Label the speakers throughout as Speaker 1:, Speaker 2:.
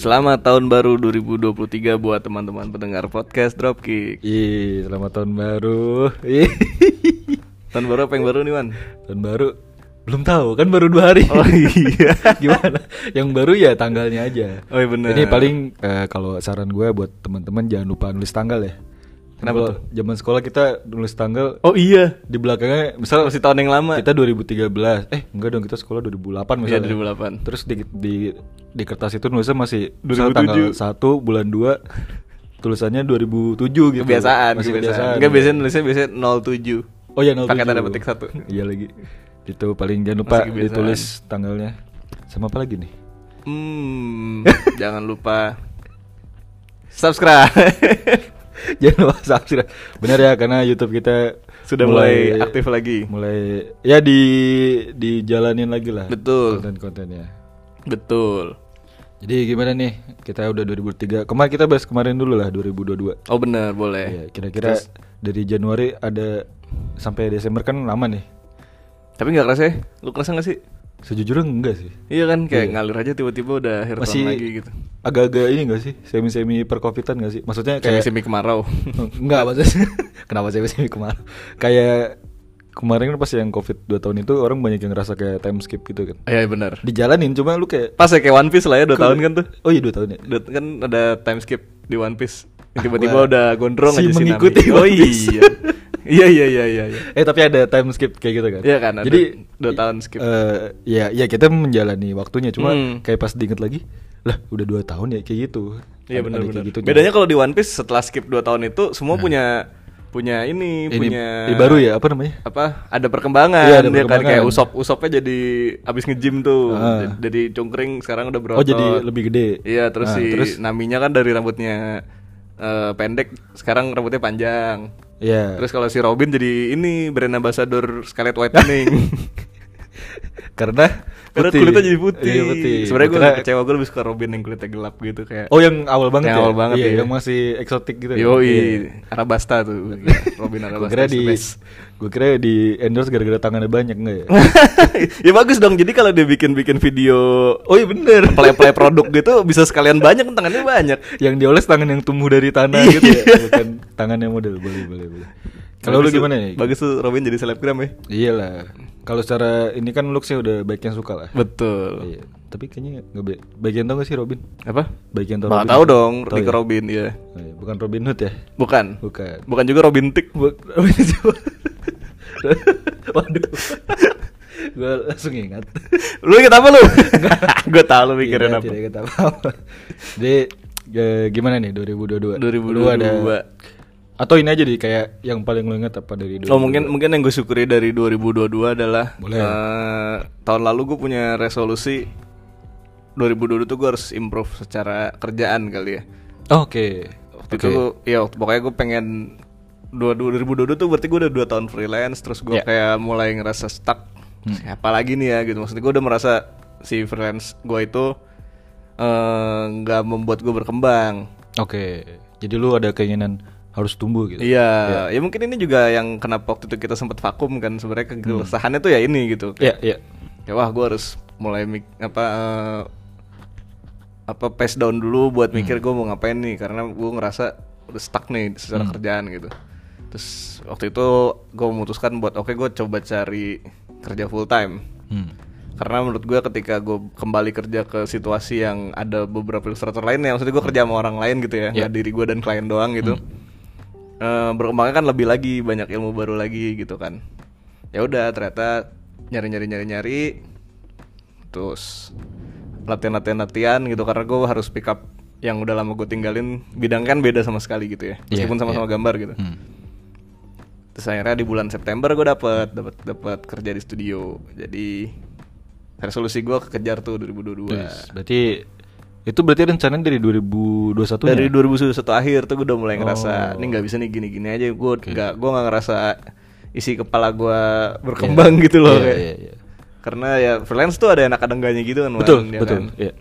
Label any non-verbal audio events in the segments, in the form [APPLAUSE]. Speaker 1: Selamat tahun baru 2023 buat teman-teman pendengar podcast Dropkick.
Speaker 2: Ih, selamat tahun baru. Ih,
Speaker 1: Tahun baru apa yang baru nih, Wan?
Speaker 2: tahun baru belum tahu kan baru dua hari.
Speaker 1: Oh, iya.
Speaker 2: [LAUGHS] Gimana? Yang baru ya tanggalnya aja.
Speaker 1: Oh, iya bener.
Speaker 2: Ini paling eh, kalau saran gue buat teman-teman jangan lupa nulis tanggal ya.
Speaker 1: Kenapa
Speaker 2: Kalau Zaman sekolah kita nulis tanggal
Speaker 1: Oh iya.
Speaker 2: di belakangnya
Speaker 1: Misal masih tahun yang lama.
Speaker 2: kita ya. 2013. Eh, enggak dong kita sekolah 2008
Speaker 1: Iya,
Speaker 2: misalnya.
Speaker 1: 2008.
Speaker 2: Terus di, di di kertas itu nulisnya masih misal
Speaker 1: 2007.
Speaker 2: tanggal 1 bulan 2 tulisannya 2007 gitu.
Speaker 1: kebiasaan,
Speaker 2: Masih
Speaker 1: kebiasaan.
Speaker 2: kebiasaan.
Speaker 1: Enggak biasanya nulisnya biasanya 07.
Speaker 2: Oh ya 07.
Speaker 1: Pakai tanda petik satu.
Speaker 2: Iya lagi. Itu paling jangan lupa
Speaker 1: Masih kebiasaan.
Speaker 2: ditulis tanggalnya. Sama apa lagi nih? [LAUGHS]
Speaker 1: Hmm, jangan lupa subscribe. [LAUGHS]
Speaker 2: jangan lupa subscribe. Benar ya karena YouTube kita
Speaker 1: Sudah mulai, aktif lagi.
Speaker 2: Mulai ya di dijalanin lagi lah.
Speaker 1: Betul.
Speaker 2: Konten-kontennya.
Speaker 1: Betul.
Speaker 2: Jadi gimana nih? Kita udah 2003. Kemarin kita bahas kemarin dulu lah 2022.
Speaker 1: Oh bener boleh.
Speaker 2: Iya, kira-kira dari Januari ada sampai Desember kan lama nih.
Speaker 1: Tapi nggak kerasa ya? Lu kerasa nggak sih?
Speaker 2: Sejujurnya enggak sih.
Speaker 1: Iya kan kayak ngalir aja tiba-tiba udah akhir
Speaker 2: Masih
Speaker 1: tahun lagi gitu.
Speaker 2: agak-agak ini enggak sih? Semi-semi percovidan enggak sih? Maksudnya kayak [LAUGHS]
Speaker 1: Semi-semi kemarau.
Speaker 2: Enggak maksudnya [LAUGHS] Kenapa saya sih kemarin Kayak Kemarin kan pas yang covid 2 tahun itu Orang banyak yang ngerasa kayak time skip gitu kan
Speaker 1: Iya bener.
Speaker 2: Dijalanin cuma lu kayak
Speaker 1: Pas ya kayak One Piece lah ya 2 tahun kan tuh.
Speaker 2: Oh iya 2 tahun ya
Speaker 1: Dut- kan ada time skip di One Piece.
Speaker 2: Ah,
Speaker 1: Tiba-tiba
Speaker 2: gua
Speaker 1: udah gondrong
Speaker 2: si
Speaker 1: aja tsunami.
Speaker 2: mengikuti
Speaker 1: Oh
Speaker 2: One Piece. [LAUGHS]
Speaker 1: iya. iya iya iya iya iya.
Speaker 2: Eh tapi ada time skip kayak gitu kan
Speaker 1: Iya kan, ada
Speaker 2: Jadi
Speaker 1: dua tahun skip.
Speaker 2: eh, Ya ya kita menjalani waktunya Cuma
Speaker 1: Hmm.
Speaker 2: kayak pas diinget lagi Lah udah 2 tahun ya kayak gitu
Speaker 1: Iya
Speaker 2: Ada-
Speaker 1: benar
Speaker 2: ada
Speaker 1: benar.
Speaker 2: kayak gitu
Speaker 1: Bedanya kalau di One Piece setelah skip 2 tahun itu semua punya punya ini,
Speaker 2: Ini-
Speaker 1: punya
Speaker 2: ini baru ya, apa namanya?
Speaker 1: Apa? Ada perkembangan.
Speaker 2: Iya, ada
Speaker 1: ya kan? kayak
Speaker 2: perkembangan.
Speaker 1: usop-usopnya jadi abis ngejim tuh. Jadi-
Speaker 2: Ah.
Speaker 1: Jadi cungkring sekarang udah berotot.
Speaker 2: Oh jadi lebih gede
Speaker 1: Iya, terus
Speaker 2: Nah,
Speaker 1: si
Speaker 2: Terus
Speaker 1: Naminya kan dari rambutnya eh, pendek sekarang rambutnya panjang.
Speaker 2: Ya
Speaker 1: Terus kalau si Robin jadi ini brand ambassador Scarlet [LAUGHS]
Speaker 2: [LAUGHS]
Speaker 1: Whitening.
Speaker 2: Karena
Speaker 1: Karena
Speaker 2: putih.
Speaker 1: kulitnya jadi putih.
Speaker 2: Iya, putih.
Speaker 1: Sebenarnya gue
Speaker 2: Karena-
Speaker 1: kecewa gue lebih suka Robin yang kulitnya gelap gitu kayak.
Speaker 2: Oh yang awal banget
Speaker 1: Yang
Speaker 2: ya?
Speaker 1: awal banget,
Speaker 2: Iya,
Speaker 1: iya.
Speaker 2: Yang masih eksotik gitu ya?
Speaker 1: Yoi,
Speaker 2: Iya.
Speaker 1: Arabasta tuh. Gila, Robin
Speaker 2: Gue
Speaker 1: Arabasta.
Speaker 2: kira
Speaker 1: is the
Speaker 2: di
Speaker 1: best. [LAUGHS]
Speaker 2: Gue kira di endorse gara-gara tangannya banyak enggak ya?
Speaker 1: ya bagus dong. Jadi kalau dia bikin-bikin video
Speaker 2: oh iya bener
Speaker 1: play-play produk gitu bisa sekalian banyak tangannya banyak.
Speaker 2: Yang dioles tangan yang tumbuh dari tanah
Speaker 1: Iya.
Speaker 2: gitu ya Bukan tangan yang model Boleh boleh boleh Kalau
Speaker 1: Bagus
Speaker 2: lu
Speaker 1: tuh-
Speaker 2: gimana nih?
Speaker 1: Bagus tuh Robin jadi selebgram ya.
Speaker 2: Iyalah Kalau secara ini kan looksnya udah baik yang suka lah
Speaker 1: Betul.
Speaker 2: Iya. Tapi kayaknya nggak baik Bagian tau gak sih Robin?
Speaker 1: Apa?
Speaker 2: Bagian tau
Speaker 1: Nggak
Speaker 2: Robin
Speaker 1: tahu
Speaker 2: Hood?
Speaker 1: dong,
Speaker 2: Tahu
Speaker 1: Nick
Speaker 2: ya?
Speaker 1: Robin ya.
Speaker 2: Oh, iya. Bukan Robin Hood ya?
Speaker 1: Bukan.
Speaker 2: Bukan
Speaker 1: Bukan juga Robin Tick.
Speaker 2: Bu- Robin siapa? Waduh Gue langsung ingat
Speaker 1: lu inget apa [LAUGHS] lu? gue tau lu mikirin
Speaker 2: Tidak-
Speaker 1: apa.
Speaker 2: Tidak ingat apa-apa Jadi eh, gimana nih 2022?
Speaker 1: 2022.
Speaker 2: Lu Atau ini aja deh kayak yang paling lu ingat apa dari 2022?
Speaker 1: Oh mungkin mungkin yang gue syukuri dari 2022 adalah
Speaker 2: Boleh.
Speaker 1: eh, tahun lalu gue punya resolusi 2022 tuh gue harus improve secara kerjaan kali ya.
Speaker 2: Oh, Oke
Speaker 1: Waktu
Speaker 2: Oke
Speaker 1: itu ya waktu- pokoknya gue pengen dua- dua- 2022 tuh berarti gue udah 2 tahun freelance terus gue
Speaker 2: Ya. Hmm.
Speaker 1: kayak mulai ngerasa stuck. Siapa lagi nih ya gitu. Maksudnya gue udah merasa si freelance gue itu eh, nggak membuat gue berkembang.
Speaker 2: Oke Jadi lu ada keinginan harus tumbuh gitu?
Speaker 1: Iya, ya mungkin ini juga yang kenapa waktu itu kita sempat vakum kan sebenarnya kegelisahannya tuh ya ini gitu.
Speaker 2: Iya iya
Speaker 1: Ya wah gue harus mulai mik apa eh, apa pace down dulu buat mikir gue mau ngapain nih karena gue ngerasa udah stuck nih secara kerjaan gitu. Terus waktu itu gue memutuskan buat oke gue coba cari kerja full time
Speaker 2: Hmm.
Speaker 1: karena menurut gue ketika gue kembali kerja ke situasi yang ada beberapa ilustrator lain ya maksudnya gue kerja sama orang lain gitu ya
Speaker 2: Iya.
Speaker 1: nggak diri gue dan klien doang gitu
Speaker 2: Hmm.
Speaker 1: Eh, berkembangnya kan lebih lagi banyak ilmu baru lagi gitu kan ya udah ternyata nyari nyari nyari nyari terus latihan latihan latihan gitu karena gue harus pick up yang udah lama gue tinggalin bidang kan beda sama sekali gitu ya
Speaker 2: Iya,
Speaker 1: meskipun sama-sama gambar gitu
Speaker 2: Hmm.
Speaker 1: Terus akhirnya di bulan September gue dapet dapet dapet kerja di studio. Jadi resolusi gue kekejar tuh 2022.
Speaker 2: Terus, Berarti Itu berarti rencananya dari 2021
Speaker 1: Dari
Speaker 2: ya? Oh.
Speaker 1: 2021 akhir tuh gue udah mulai ngerasa ini nggak bisa nih gini-gini aja. Gue nggak gue nggak ngerasa isi kepala gue berkembang gitu loh.
Speaker 2: Iya,
Speaker 1: kayak.
Speaker 2: iya, iya.
Speaker 1: Karena ya freelance tuh ada enak ada enggaknya gitu kan. Wan,
Speaker 2: Betul
Speaker 1: ya
Speaker 2: betul
Speaker 1: kan?
Speaker 2: Iya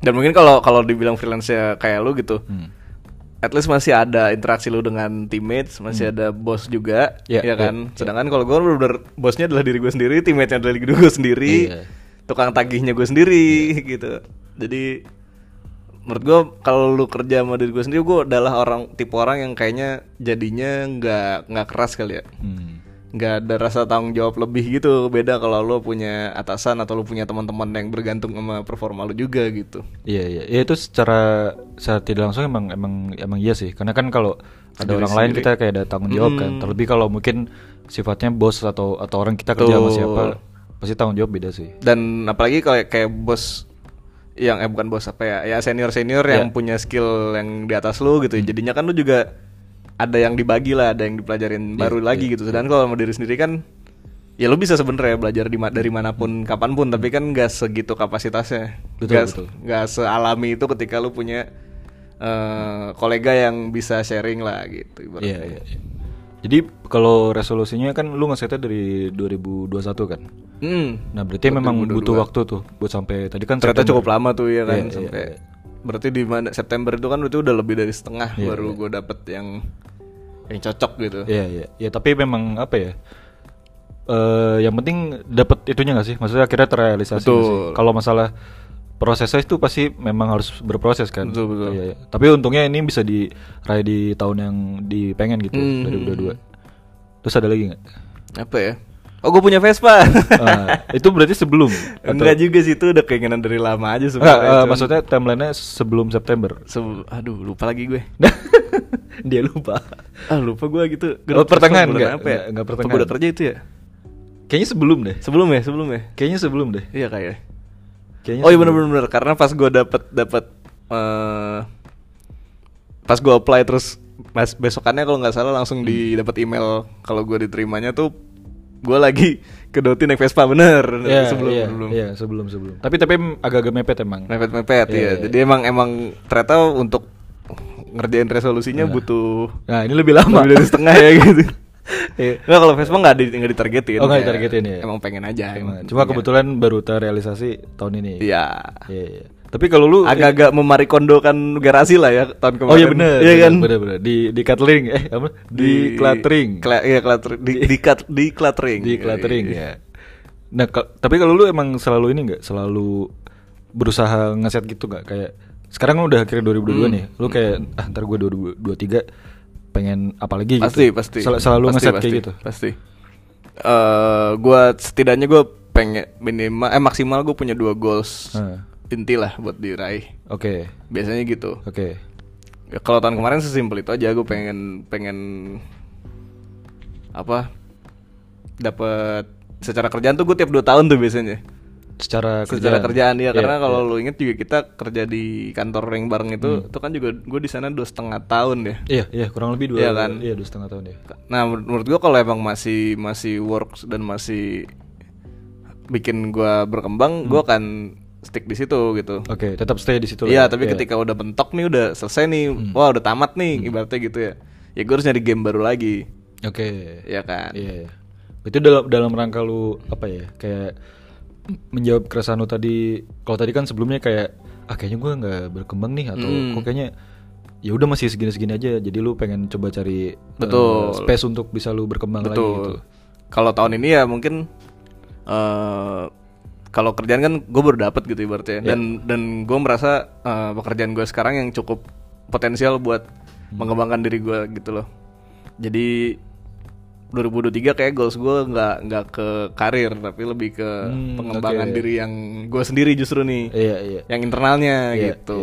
Speaker 1: Dan mungkin kalau kalau dibilang freelance ya kayak lu gitu.
Speaker 2: Hmm.
Speaker 1: At least masih ada interaksi lu dengan teammates, masih ada bos juga,
Speaker 2: Iya,
Speaker 1: Hmm. ya
Speaker 2: iya,
Speaker 1: kan. Sedangkan kalau gue bener-bener bosnya adalah diri gue sendiri, teammate-nya adalah diri gue sendiri, Iya.
Speaker 2: Iya.
Speaker 1: [LAUGHS] tukang tagihnya gue sendiri gitu. Jadi menurut gue kalau lu kerja sama diri gue sendiri gue adalah orang tipe orang yang kayaknya jadinya nggak nggak keras kali ya
Speaker 2: Hmm.
Speaker 1: nggak ada rasa tanggung jawab lebih gitu beda kalau lu punya atasan atau lu punya teman-teman yang bergantung sama performa lu juga gitu
Speaker 2: Iya iya ya, itu secara secara tidak langsung emang emang emang iya sih karena kan kalau ada
Speaker 1: Sendiri-
Speaker 2: orang lain
Speaker 1: sendiri.
Speaker 2: kita kayak ada tanggung jawab kan terlebih kalau mungkin sifatnya bos atau atau orang kita kerja sama
Speaker 1: Betul.
Speaker 2: siapa pasti tanggung jawab beda sih
Speaker 1: dan apalagi kalau kayak bos yang eh bukan bos apa ya ya senior senior yang punya skill yang di atas lu
Speaker 2: Hmm.
Speaker 1: gitu jadinya kan lu juga ada yang dibagi lah ada yang
Speaker 2: Ya,
Speaker 1: dipelajarin baru lagi gitu sedangkan kalau sama diri sendiri kan ya lu bisa sebenarnya belajar di ma- dari manapun kapanpun tapi kan gak segitu kapasitasnya
Speaker 2: Betul,
Speaker 1: gak,
Speaker 2: betul.
Speaker 1: gak sealami itu ketika lu punya eh, kolega yang bisa sharing lah gitu ibaratnya.
Speaker 2: Iya iya. iya. Jadi kalau resolusinya kan lu ngesetnya dari 2021 kan.
Speaker 1: Hmm.
Speaker 2: Nah berarti memang butuh waktu tuh buat sampai tadi kan
Speaker 1: ternyata
Speaker 2: September.
Speaker 1: cukup lama tuh ya kan
Speaker 2: Iya,
Speaker 1: sampai berarti di mana September itu kan itu udah lebih dari setengah
Speaker 2: Iya,
Speaker 1: baru
Speaker 2: iya.
Speaker 1: gue dapet yang yang cocok gitu
Speaker 2: Iya iya. Ya tapi memang apa ya? Eh yang penting dapat itunya gak sih? Maksudnya akhirnya terrealisasi nggak sih?
Speaker 1: Betul.
Speaker 2: Kalau masalah prosesnya itu pasti memang harus berproses kan.
Speaker 1: Betul, betul.
Speaker 2: Iya, iya. Tapi untungnya ini bisa diraih di tahun yang dipengen gitu
Speaker 1: Hmm.
Speaker 2: 2022. Terus ada lagi nggak? [LAUGHS]
Speaker 1: apa ya oh gue punya Vespa
Speaker 2: Ah, itu berarti sebelum atau-
Speaker 1: enggak juga sih itu udah keinginan dari lama aja
Speaker 2: Enggak, eh,
Speaker 1: sebenarnya cuman-
Speaker 2: maksudnya timelinenya sebelum
Speaker 1: [LAUGHS]
Speaker 2: September. [LAUGHS]
Speaker 1: Se- aduh lupa lagi gue
Speaker 2: Dia lupa.
Speaker 1: ah lupa gue gitu Gerut-
Speaker 2: Oh, pertengahan
Speaker 1: bulan
Speaker 2: enggak?
Speaker 1: apa ya
Speaker 2: Enggak, enggak
Speaker 1: Apa
Speaker 2: pertengahan.
Speaker 1: gue udah kerja itu ya
Speaker 2: Kayaknya sebelum deh.
Speaker 1: sebelum ya sebelum ya
Speaker 2: Kayaknya sebelum deh.
Speaker 1: iya kayaknya
Speaker 2: Kayaknya
Speaker 1: oh iya
Speaker 2: sebelum.
Speaker 1: bener-bener karena pas gue dapet dapet eh, pas gue apply terus mas besokannya kalau nggak salah langsung di
Speaker 2: Hmm.
Speaker 1: dapet email kalau gue diterimanya tuh gue lagi [LAUGHS] ke Doti naik Vespa bener
Speaker 2: Iya,
Speaker 1: sebelum
Speaker 2: iya,
Speaker 1: sebelum
Speaker 2: Iya, sebelum sebelum. Tapi tapi em- agak-agak mepet emang.
Speaker 1: mepet mepet
Speaker 2: Iya,
Speaker 1: ya
Speaker 2: iya.
Speaker 1: jadi emang emang ternyata untuk ngerjain resolusinya butuh
Speaker 2: Nah, ini lebih [LAUGHS] lama.
Speaker 1: lebih dari
Speaker 2: [LAUGHS]
Speaker 1: setengah ya gitu
Speaker 2: Iya.
Speaker 1: Nggak, kalau Vespa nggak di, nggak ditargetin
Speaker 2: Oh, nggak
Speaker 1: kayak
Speaker 2: ditargetin, iya.
Speaker 1: emang pengen aja
Speaker 2: Cuma,
Speaker 1: emang
Speaker 2: cuma
Speaker 1: punya.
Speaker 2: kebetulan baru terrealisasi tahun ini.
Speaker 1: iya
Speaker 2: Iya, iya. Tapi kalau lu
Speaker 1: agak-agak memarikondokan garasi lah ya tahun kemarin
Speaker 2: Oh iya benar.
Speaker 1: iya kan
Speaker 2: Benar benar. Di di catering eh apa? Di, cluttering.
Speaker 1: Kla- iya cluttering Iya, di di, cut- di cluttering
Speaker 2: Di cluttering ya. Nah, ka- tapi kalau lu emang selalu ini nggak selalu berusaha ngeset gitu nggak kayak sekarang lu udah akhirnya
Speaker 1: Hmm.
Speaker 2: 2022 nih, lu kayak ah ntar gue 2023 pengen apa lagi gitu.
Speaker 1: pasti pasti
Speaker 2: Sel- selalu
Speaker 1: Pasti,
Speaker 2: ngeset
Speaker 1: pasti,
Speaker 2: kayak gitu.
Speaker 1: pasti Eh, gue setidaknya gue pengen minimal eh maksimal gue punya dua goals
Speaker 2: Heeh.
Speaker 1: inti lah buat diraih
Speaker 2: Nah, Oke.
Speaker 1: biasanya gitu
Speaker 2: Oke.
Speaker 1: Ya, kalau tahun kemarin sesimpel itu aja gue pengen pengen apa dapat secara kerjaan tuh gue tiap 2 tahun tuh biasanya
Speaker 2: Secara kerjaan.
Speaker 1: secara kerjaan ya
Speaker 2: Iya,
Speaker 1: karena kalau
Speaker 2: iya. Hmm.
Speaker 1: lu inget juga kita kerja di kantor yang bareng itu itu kan juga gue di sana dua setengah tahun ya
Speaker 2: Iya, iya kurang lebih dua
Speaker 1: Iya kan?
Speaker 2: Iya, dua setengah tahun ya.
Speaker 1: nah menur- menurut gue kalau emang masih masih works dan masih bikin gue berkembang
Speaker 2: Hmm.
Speaker 1: gue akan stick di situ gitu
Speaker 2: Oke, tetap stay di situ lah
Speaker 1: Iya,
Speaker 2: ya.
Speaker 1: tapi
Speaker 2: Iya. Hmm.
Speaker 1: ketika udah bentok nih, udah selesai nih, wah udah tamat nih, ibaratnya gitu ya. Ya gue harus nyari game baru lagi,
Speaker 2: Oke.
Speaker 1: ya kan?
Speaker 2: Iya. iya. Itu dalam dalam rangka lu apa ya? Kayak menjawab keresahan lu tadi. Kalau tadi kan sebelumnya kayak ah kayaknya gua nggak berkembang nih atau
Speaker 1: Hmm.
Speaker 2: kok kayaknya ya udah masih segini-segini aja. Jadi lu pengen coba cari eh,
Speaker 1: Betul.
Speaker 2: space untuk bisa lu berkembang lagi gitu.
Speaker 1: Betul. Kalau tahun ini ya mungkin eh kalau kerjaan kan gue baru dapet gitu ibaratnya.
Speaker 2: Iya.
Speaker 1: Dan dan gue merasa eh, pekerjaan gue sekarang yang cukup potensial buat
Speaker 2: Hmm.
Speaker 1: mengembangkan diri gue gitu loh. Jadi 2023 kayak goals gue nggak nggak ke karir tapi lebih ke pengembangan diri yang gue sendiri justru nih.
Speaker 2: Hmm, Iya, iya.
Speaker 1: yang internalnya gitu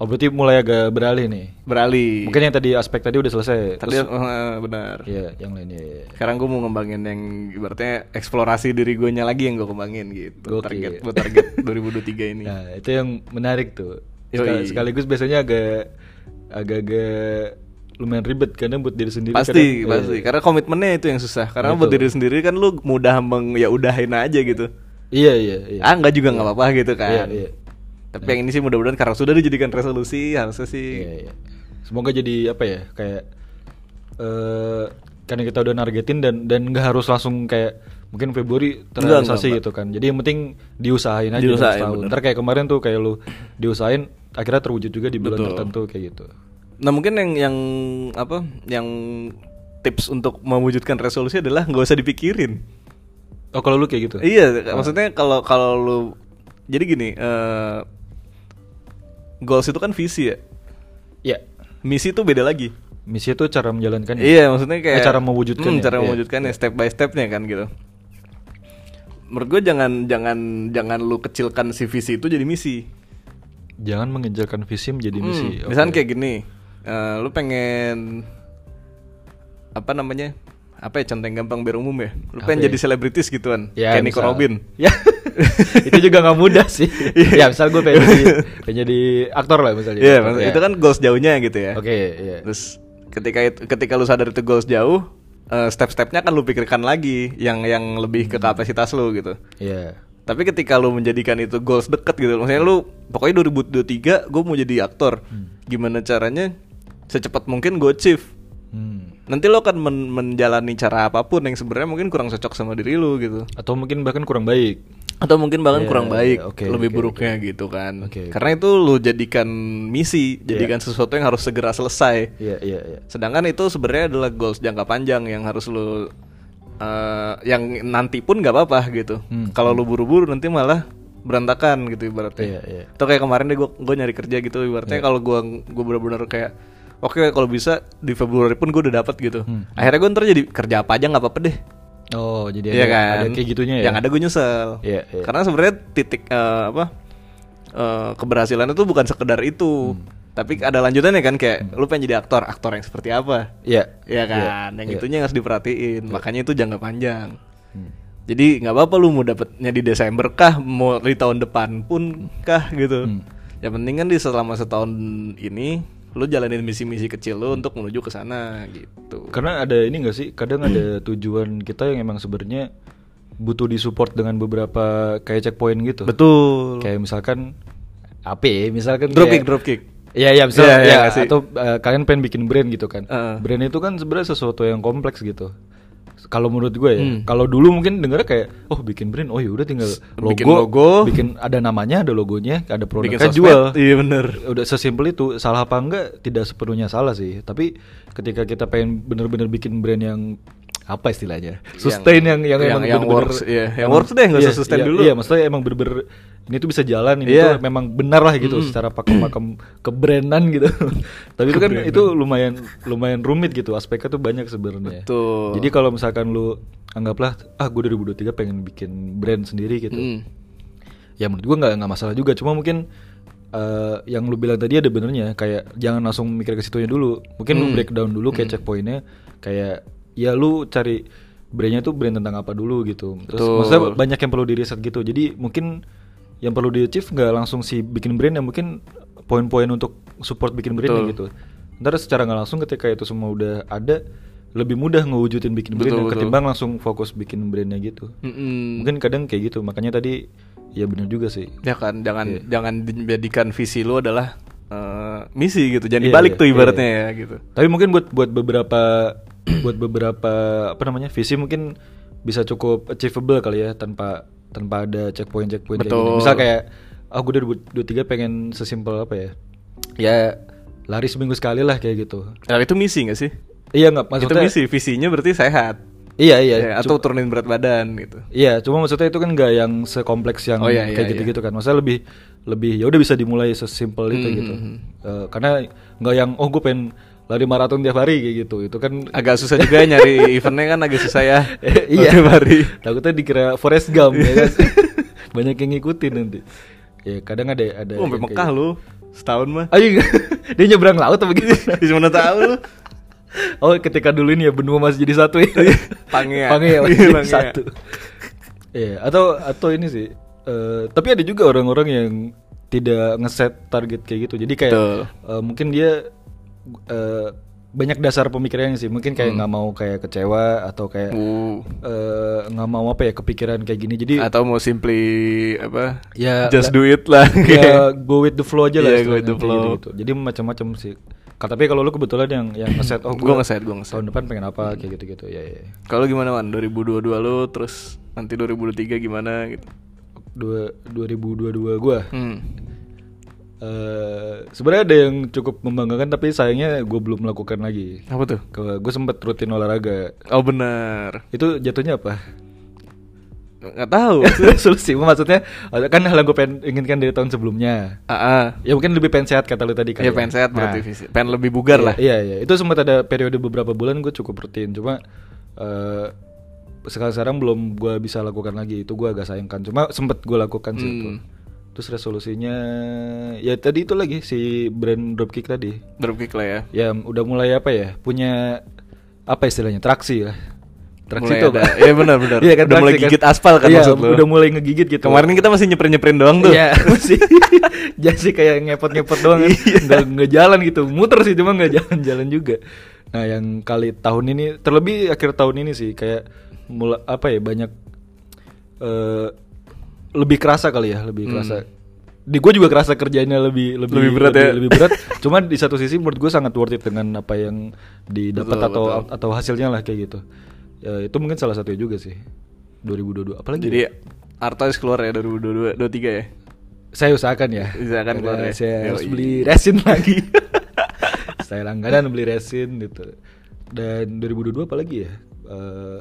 Speaker 2: Oh berarti mulai agak beralih nih.
Speaker 1: beralih
Speaker 2: Mungkin yang tadi aspek tadi udah
Speaker 1: Iya.
Speaker 2: selesai.
Speaker 1: tadi eh, benar
Speaker 2: Iya, yang lainnya. Iya.
Speaker 1: sekarang gue mau ngembangin yang ibaratnya eksplorasi diri gue nya lagi yang gue kembangin gitu
Speaker 2: Gokil.
Speaker 1: target buat
Speaker 2: [LAUGHS]
Speaker 1: target 2023 ini
Speaker 2: Nah, itu yang menarik tuh.
Speaker 1: Yoi.
Speaker 2: Sekal- sekaligus biasanya agak agak-agak lumayan ribet karena buat diri sendiri
Speaker 1: pasti
Speaker 2: kadang-
Speaker 1: pasti karena komitmennya itu yang susah karena buat diri sendiri kan lu mudah meng ya udahin aja gitu
Speaker 2: Iya, iya, iya.
Speaker 1: ah nggak juga nggak apa-apa gitu
Speaker 2: Iya,
Speaker 1: kan
Speaker 2: iya.
Speaker 1: tapi yang ini sih mudah-mudahan karena sudah dijadikan resolusi harusnya sih
Speaker 2: Iya, iya. Semoga jadi apa ya? Kayak eh karena kita udah nargetin dan dan nggak harus langsung kayak mungkin Februari terrealisasi gitu kan. Jadi yang penting diusahain aja dalam
Speaker 1: Diusahain,
Speaker 2: setahun. Ntar kayak kemarin tuh kayak lu diusahain akhirnya terwujud juga di bulan tertentu kayak gitu.
Speaker 1: Nah mungkin yang yang apa yang tips untuk mewujudkan resolusi adalah nggak usah dipikirin.
Speaker 2: Oh, kalau lu kayak gitu.
Speaker 1: Iya, maksudnya kalau kalau lu jadi gini, eh goals itu kan visi ya
Speaker 2: Ya,
Speaker 1: misi itu beda lagi
Speaker 2: misi itu cara menjalankannya.
Speaker 1: Iya, maksudnya kayak
Speaker 2: Eh, cara
Speaker 1: Hmm,
Speaker 2: mewujudkannya.
Speaker 1: cara
Speaker 2: Iya.
Speaker 1: mewujudkannya step by stepnya kan gitu. Menurut gue jangan jangan jangan lu kecilkan si visi itu jadi misi.
Speaker 2: Jangan mengejarkan visi menjadi misi.
Speaker 1: Hmm,
Speaker 2: Oke.
Speaker 1: Misalnya kayak gini, eh, lu pengen apa namanya? Apa ya centeng gampang biar umum ya? Lu
Speaker 2: Apa
Speaker 1: pengen
Speaker 2: ya?
Speaker 1: jadi selebritis gituan,
Speaker 2: Ya,
Speaker 1: kayak Nico
Speaker 2: misal.
Speaker 1: Robin. [LAUGHS]
Speaker 2: Ya. itu juga nggak mudah sih. ya, misal gue pengen jadi,
Speaker 1: [LAUGHS]
Speaker 2: pengen jadi aktor lah misalnya.
Speaker 1: Iya,
Speaker 2: Aktor,
Speaker 1: maksud-
Speaker 2: ya.
Speaker 1: itu kan goals jauhnya gitu ya.
Speaker 2: Oke, iya.
Speaker 1: Terus ketika itu, ketika lu sadar itu goals jauh, eh, step-stepnya kan lu pikirkan lagi yang yang lebih ke kapasitas lu gitu.
Speaker 2: Iya.
Speaker 1: Tapi ketika lu menjadikan itu goals deket gitu Maksudnya lu pokoknya 2023 gue mau jadi aktor Gimana caranya secepat mungkin gue achieve
Speaker 2: Hmm.
Speaker 1: Nanti lo akan men- menjalani cara apapun yang sebenarnya mungkin kurang cocok sama diri lu gitu
Speaker 2: Atau mungkin bahkan kurang baik.
Speaker 1: Atau mungkin bahkan
Speaker 2: Iya,
Speaker 1: kurang baik
Speaker 2: oke,
Speaker 1: Lebih
Speaker 2: oke,
Speaker 1: buruknya gitu kan
Speaker 2: Oke, Iya. oke.
Speaker 1: Karena itu lu jadikan misi Jadikan sesuatu yang harus segera selesai
Speaker 2: Iya, iya, iya.
Speaker 1: Sedangkan itu sebenarnya adalah goals jangka panjang yang harus lu eh, yang nanti pun nggak apa-apa gitu.
Speaker 2: Hmm.
Speaker 1: Kalau lu buru-buru nanti malah berantakan gitu
Speaker 2: Iya,
Speaker 1: ibaratnya.
Speaker 2: iya.
Speaker 1: Atau kayak kemarin deh gue nyari kerja gitu ibaratnya kalau gua gua bener-bener kayak oke kalau bisa di Februari pun gue udah dapat gitu.
Speaker 2: Hmm.
Speaker 1: Akhirnya gue ntar jadi kerja apa aja nggak apa-apa deh.
Speaker 2: Oh, jadi
Speaker 1: Iya
Speaker 2: ada,
Speaker 1: kan?
Speaker 2: ada kayak gitunya ya.
Speaker 1: Yang ada gue nyesel.
Speaker 2: Iya, iya.
Speaker 1: Karena sebenarnya titik eh, apa eh, keberhasilan itu bukan sekedar itu.
Speaker 2: Hmm.
Speaker 1: Tapi ada lanjutannya kan kayak lu pengen jadi aktor, aktor yang seperti apa?
Speaker 2: Iya.
Speaker 1: Iya kan, yang
Speaker 2: iya. Hmm.
Speaker 1: itunya harus diperhatiin. Makanya itu jangka panjang. Jadi nggak apa-apa lu mau dapetnya di Desember kah, mau di tahun depan pun kah gitu.
Speaker 2: Hmm.
Speaker 1: Yang penting kan di selama setahun ini lu jalanin misi-misi kecil lu untuk menuju ke sana gitu.
Speaker 2: Karena ada ini gak sih? Kadang ada tujuan kita yang emang sebenarnya butuh disupport dengan beberapa kayak checkpoint gitu.
Speaker 1: Betul.
Speaker 2: Kayak misalkan apa ya? Misalkan
Speaker 1: Drop
Speaker 2: kayak-
Speaker 1: kick, drop kick.
Speaker 2: Iya iya misalnya
Speaker 1: Iya, iya,
Speaker 2: ya,
Speaker 1: nggak sih?
Speaker 2: atau eh, kalian pengen bikin brand gitu kan.
Speaker 1: Heeh.
Speaker 2: Brand itu kan sebenarnya sesuatu yang kompleks gitu. Kalau menurut gue ya,
Speaker 1: Hmm.
Speaker 2: kalau dulu mungkin dengarnya kayak oh bikin brand, oh yaudah tinggal logo,
Speaker 1: bikin logo.
Speaker 2: bikin ada namanya, ada logonya, ada
Speaker 1: Bikin
Speaker 2: produknya
Speaker 1: sosmed.
Speaker 2: jual.
Speaker 1: Iya bener.
Speaker 2: Udah sesimpel itu, salah apa enggak tidak sepenuhnya salah sih. Tapi ketika kita pengen bener-bener bikin brand yang apa istilahnya? Sustain yang yang,
Speaker 1: yang-
Speaker 2: emang
Speaker 1: yang
Speaker 2: bener-bener-
Speaker 1: works, iya. Yang works deh, nggak usah
Speaker 2: iya,
Speaker 1: sustain
Speaker 2: iya,
Speaker 1: dulu.
Speaker 2: Iya, maksudnya emang bener-bener ini tuh bisa jalan ini
Speaker 1: Iya.
Speaker 2: tuh memang benar lah gitu secara pakem pakem kebrandan [LAUGHS] gitu tapi itu kan itu lumayan lumayan rumit gitu aspeknya tuh banyak sebenarnya
Speaker 1: Betul.
Speaker 2: jadi kalau misalkan lu anggaplah ah gue 2023 pengen bikin brand sendiri gitu
Speaker 1: Mm.
Speaker 2: ya menurut gue nggak nggak masalah juga cuma mungkin eh, yang lu bilang tadi ada benernya kayak jangan langsung mikir ke situnya dulu mungkin
Speaker 1: Hmm.
Speaker 2: lu breakdown dulu kayak checkpointnya kayak ya lu cari brandnya tuh brand tentang apa dulu gitu terus
Speaker 1: Betul.
Speaker 2: maksudnya banyak yang perlu di riset gitu jadi mungkin yang perlu di achieve nggak langsung si bikin brand yang mungkin poin-poin untuk support bikin brandnya gitu ntar secara nggak langsung ketika itu semua udah ada lebih mudah ngewujudin bikin
Speaker 1: Betul,
Speaker 2: brand
Speaker 1: betul.
Speaker 2: ketimbang langsung fokus bikin brandnya gitu
Speaker 1: Mm-mm.
Speaker 2: mungkin kadang kayak gitu makanya tadi ya bener juga sih
Speaker 1: Ya kan, jangan
Speaker 2: Iya.
Speaker 1: jangan dijadikan visi lu adalah eh, misi gitu. Jangan
Speaker 2: Iya,
Speaker 1: dibalik
Speaker 2: iya,
Speaker 1: tuh
Speaker 2: iya,
Speaker 1: ibaratnya ya gitu.
Speaker 2: tapi mungkin buat buat beberapa [CLEARS THROAT] buat beberapa apa namanya visi mungkin bisa cukup achievable kali ya tanpa tanpa ada checkpoint checkpoint kayak
Speaker 1: Betul.
Speaker 2: gini. misal kayak "Ah, aku udah dua tiga pengen sesimpel apa ya ya lari seminggu sekali lah kayak gitu
Speaker 1: Nah, itu misi gak sih?
Speaker 2: iya nggak
Speaker 1: itu
Speaker 2: maksudnya
Speaker 1: misi, visinya berarti sehat.
Speaker 2: iya
Speaker 1: Ya,
Speaker 2: iya
Speaker 1: atau turunin berat badan gitu.
Speaker 2: Iya, cuma maksudnya itu kan nggak yang sekompleks yang
Speaker 1: Oh, iya, iya,
Speaker 2: kayak gitu-gitu kan. Maksudnya lebih lebih ya udah bisa dimulai sesimpel itu
Speaker 1: Hmm,
Speaker 2: gitu. Eh, karena nggak yang oh gue pengen lari maraton tiap hari kayak gitu. Itu kan
Speaker 1: Agak susah juga [LAUGHS] nyari eventnya kan agak susah [LAUGHS] ya.
Speaker 2: [LAUGHS] Eh, iya.
Speaker 1: Oke, Mari.
Speaker 2: Takutnya dikira Forest Gump ya kan. [LAUGHS] Banyak yang ngikutin nanti. Ya kadang ada ada.
Speaker 1: Oh, sampai
Speaker 2: yang kayak gitu.
Speaker 1: Mekah lu setahun mah. [LAUGHS]
Speaker 2: Ayo, [LAUGHS] dia nyebrang laut apa gitu?
Speaker 1: Di mana tahu lu?
Speaker 2: Oh, ketika dulu ini ya benua masih jadi satu ya.
Speaker 1: Pangea.
Speaker 2: Pangea masih
Speaker 1: Iya,
Speaker 2: jadi
Speaker 1: Pangea.
Speaker 2: satu. Iya, atau atau ini sih. eh, tapi ada juga orang-orang yang tidak ngeset target kayak gitu. Jadi kayak
Speaker 1: Betul.
Speaker 2: eh, mungkin dia eh, banyak dasar pemikirannya sih. Mungkin
Speaker 1: Hmm.
Speaker 2: kayak nggak mau kayak kecewa atau kayak
Speaker 1: Uh.
Speaker 2: eh, nggak mau apa ya kepikiran kayak gini. Jadi
Speaker 1: Atau mau simply apa?
Speaker 2: Ya,
Speaker 1: just
Speaker 2: la-
Speaker 1: do it [LAUGHS] lah.
Speaker 2: ya go with the flow aja
Speaker 1: Iya,
Speaker 2: lah
Speaker 1: go with the
Speaker 2: istilahnya, kayak
Speaker 1: flow.
Speaker 2: gitu-gitu. jadi macam-macam sih Ka- tapi kalau lu kebetulan yang yang ngeset oh
Speaker 1: Gua
Speaker 2: gua
Speaker 1: ngeset, gua ngeset.
Speaker 2: tahun depan pengen apa kayak gitu gitu ya ya ya.
Speaker 1: Kalau gimana man? 2022 lu terus nanti 2023 gimana gitu.
Speaker 2: dua 2022 gua
Speaker 1: Hmm.
Speaker 2: Eh, sebenarnya ada yang cukup membanggakan tapi sayangnya gua belum melakukan lagi
Speaker 1: Apa tuh?
Speaker 2: ke gue sempet rutin olahraga
Speaker 1: Oh benar.
Speaker 2: [LAUGHS] itu jatuhnya apa
Speaker 1: nggak [LAUGHS] tahu
Speaker 2: solusi maksudnya kan hal yang gue pengen inginkan dari tahun sebelumnya
Speaker 1: ah ah.
Speaker 2: ya mungkin lebih pengen sehat kata lu tadi kan
Speaker 1: ya pengen sehat berarti visi- pengen lebih bugar lah
Speaker 2: iya iya itu sempat ada periode beberapa bulan gue cukup rutin cuma eh sekarang sekarang belum gue bisa lakukan lagi itu gue agak sayangkan cuma sempet gue lakukan sih itu
Speaker 1: Hmm.
Speaker 2: terus resolusinya ya tadi itu lagi si brand dropkick tadi
Speaker 1: dropkick lah ya
Speaker 2: ya udah mulai apa ya punya apa istilahnya traksi lah traksi
Speaker 1: Mulai
Speaker 2: itu
Speaker 1: ada.
Speaker 2: kan
Speaker 1: Iya, benar, benar.
Speaker 2: [LAUGHS] Iya
Speaker 1: Udah mulai
Speaker 2: traksi
Speaker 1: gigit aspal kan
Speaker 2: Iya,
Speaker 1: maksud lu?
Speaker 2: udah mulai ngegigit gitu
Speaker 1: kemarin kan kita masih nyeprin nyeprin doang tuh
Speaker 2: Iya [LAUGHS] masih Jadi sih kayak ngepot-ngepot doang kan
Speaker 1: Iya.
Speaker 2: nggak, nggak jalan gitu Muter sih cuma nggak jalan-jalan juga Nah yang kali tahun ini Terlebih akhir tahun ini sih Kayak mula, apa ya banyak eh Lebih kerasa kali ya Lebih kerasa Di gue juga kerasa kerjanya lebih
Speaker 1: Hmm.
Speaker 2: lebih,
Speaker 1: Lebih berat ya.
Speaker 2: lebih berat. Cuma di satu sisi menurut gue sangat worth it dengan apa yang didapat
Speaker 1: Betul,
Speaker 2: atau
Speaker 1: betul.
Speaker 2: atau hasilnya lah kayak gitu. Ya, itu mungkin salah satunya juga sih. 2022 apalagi ya?
Speaker 1: jadi Artois ya? keluar ya 2022 23 ya
Speaker 2: saya usahakan ya.
Speaker 1: Usahakan
Speaker 2: Karena
Speaker 1: keluar ya.
Speaker 2: Saya
Speaker 1: Yoi.
Speaker 2: harus beli resin [LAUGHS] lagi. saya langganan beli resin gitu. Dan 2022 apa lagi ya? Eh,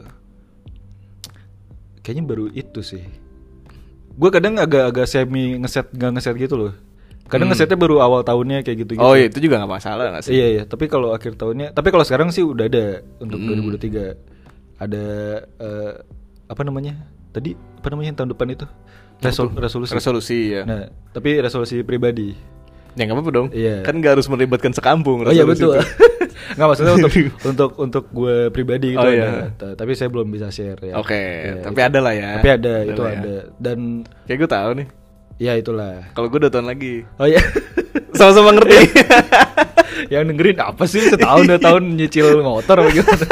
Speaker 2: kayaknya baru itu sih. Gue kadang agak-agak semi ngeset nggak ngeset gitu loh. Kadang ngesetnya baru awal tahunnya kayak gitu.
Speaker 1: Hmm. oh iya, itu juga nggak masalah nggak sih
Speaker 2: Iya iya, tapi kalau akhir tahunnya, tapi kalau sekarang sih udah ada untuk
Speaker 1: Hmm.
Speaker 2: 2023 ada eh, apa namanya? Tadi apa namanya yang tahun depan itu? Resol- resolusi.
Speaker 1: resolusi ya
Speaker 2: Nah, tapi resolusi pribadi.
Speaker 1: ya nggak apa-apa dong
Speaker 2: Iya.
Speaker 1: kan nggak harus melibatkan sekampung
Speaker 2: Oh iya
Speaker 1: resolusi
Speaker 2: betul.
Speaker 1: itu.
Speaker 2: [LAUGHS] Nggak maksudnya
Speaker 1: [LAUGHS]
Speaker 2: untuk untuk untuk gue pribadi gitu
Speaker 1: Oh,
Speaker 2: ada.
Speaker 1: iya.
Speaker 2: T- Tapi saya belum bisa share ya.
Speaker 1: Oke,
Speaker 2: Ya,
Speaker 1: tapi
Speaker 2: itu.
Speaker 1: ada lah ya.
Speaker 2: Tapi ada, itu
Speaker 1: lah ya.
Speaker 2: ada. Dan
Speaker 1: Kayak gue tahu nih.
Speaker 2: ya itulah.
Speaker 1: Kalau gue dua tahun
Speaker 2: [LAUGHS]
Speaker 1: lagi. Iya.
Speaker 2: Oh iya.
Speaker 1: Sama-sama
Speaker 2: [LAUGHS]
Speaker 1: ngerti.
Speaker 2: yang dengerin apa sih setahun dua tahun nyicil motor apa gimana?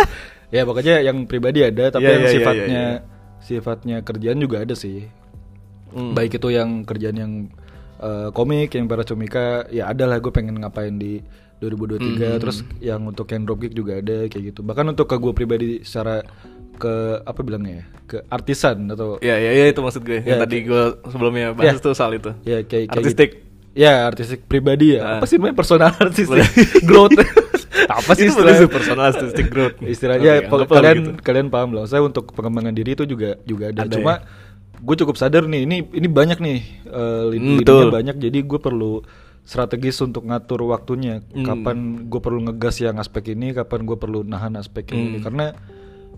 Speaker 2: ya pokoknya yang pribadi ada, tapi
Speaker 1: Iya,
Speaker 2: yang
Speaker 1: iya, iya,
Speaker 2: sifatnya
Speaker 1: iya, Hmm.
Speaker 2: sifatnya kerjaan juga ada sih. Baik itu yang kerjaan yang eh, komik, yang para comika, ya ada lah gue pengen ngapain di
Speaker 1: Hmm.
Speaker 2: 2023. Terus yang untuk yang dropkick juga ada kayak gitu. Bahkan untuk ke gue pribadi secara ke apa bilangnya ya, ke artisan atau
Speaker 1: Ya, ya, ya itu maksud gue. Yang
Speaker 2: Ya,
Speaker 1: tadi gue sebelumnya bahas
Speaker 2: Ya.
Speaker 1: tuh soal itu.
Speaker 2: ya kayak, kayak
Speaker 1: Artistik.
Speaker 2: gitu. Ya artistik pribadi ya.
Speaker 1: Ah.
Speaker 2: Apa sih namanya
Speaker 1: [LAUGHS]
Speaker 2: personal artistik growth? apa sih
Speaker 1: Itu bener
Speaker 2: istilahnya?
Speaker 1: sih, personal artistic [LAUGHS] growth.
Speaker 2: Istilahnya
Speaker 1: Oke,
Speaker 2: pe-
Speaker 1: anggaplah
Speaker 2: Ya, kalian
Speaker 1: begitu.
Speaker 2: kalian paham lah. Saya untuk pengembangan diri itu juga juga
Speaker 1: Ada
Speaker 2: ada.
Speaker 1: ya?
Speaker 2: Cuma gue cukup sadar nih ini ini banyak nih eh, lid-
Speaker 1: Hmm,
Speaker 2: lidinya
Speaker 1: betul.
Speaker 2: banyak. Jadi gue perlu strategis untuk ngatur waktunya.
Speaker 1: Hmm.
Speaker 2: Kapan gue perlu ngegas yang aspek ini, kapan gue perlu nahan aspek yang
Speaker 1: Hmm.
Speaker 2: ini. Karena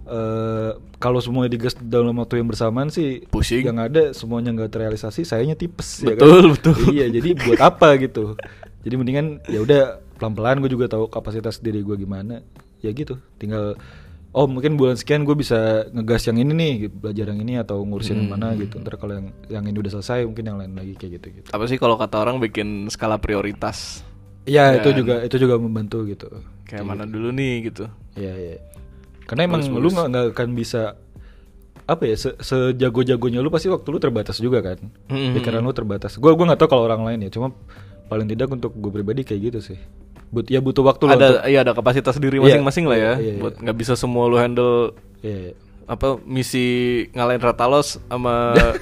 Speaker 2: eh, kalau semuanya digas dalam waktu yang bersamaan sih
Speaker 1: Pusing.
Speaker 2: yang ada semuanya nggak terrealisasi sayanya tipes
Speaker 1: Betul, betul.
Speaker 2: iya jadi buat apa gitu jadi mendingan ya udah pelan pelan gue juga tahu kapasitas diri gue gimana ya gitu tinggal oh mungkin bulan sekian gue bisa ngegas yang ini nih belajar yang ini atau ngurusin yang mana gitu ntar kalau yang yang ini udah selesai mungkin yang lain lagi kayak gitu gitu
Speaker 1: Apa sih kalau kata orang bikin skala prioritas?
Speaker 2: ya itu juga itu juga membantu gitu
Speaker 1: Kayak mana dulu nih gitu.
Speaker 2: Iya iya. Karena emang lu nggak nggak akan bisa apa ya se- sejago-jagonya lu pasti waktu lu terbatas juga kan.
Speaker 1: Mm-mm.
Speaker 2: Pikiran lu terbatas. Gua gua nggak tahu kalau orang lain ya, cuma paling tidak untuk gue pribadi kayak gitu sih. But ya butuh waktu lah untuk-
Speaker 1: ada iya ada kapasitas diri
Speaker 2: Iya,
Speaker 1: masing-masing lah ya.
Speaker 2: iya, iya,
Speaker 1: Buat nggak bisa semua lu handle
Speaker 2: Iya, iya.
Speaker 1: apa misi ngalahin Ratalos sama
Speaker 2: [LAUGHS]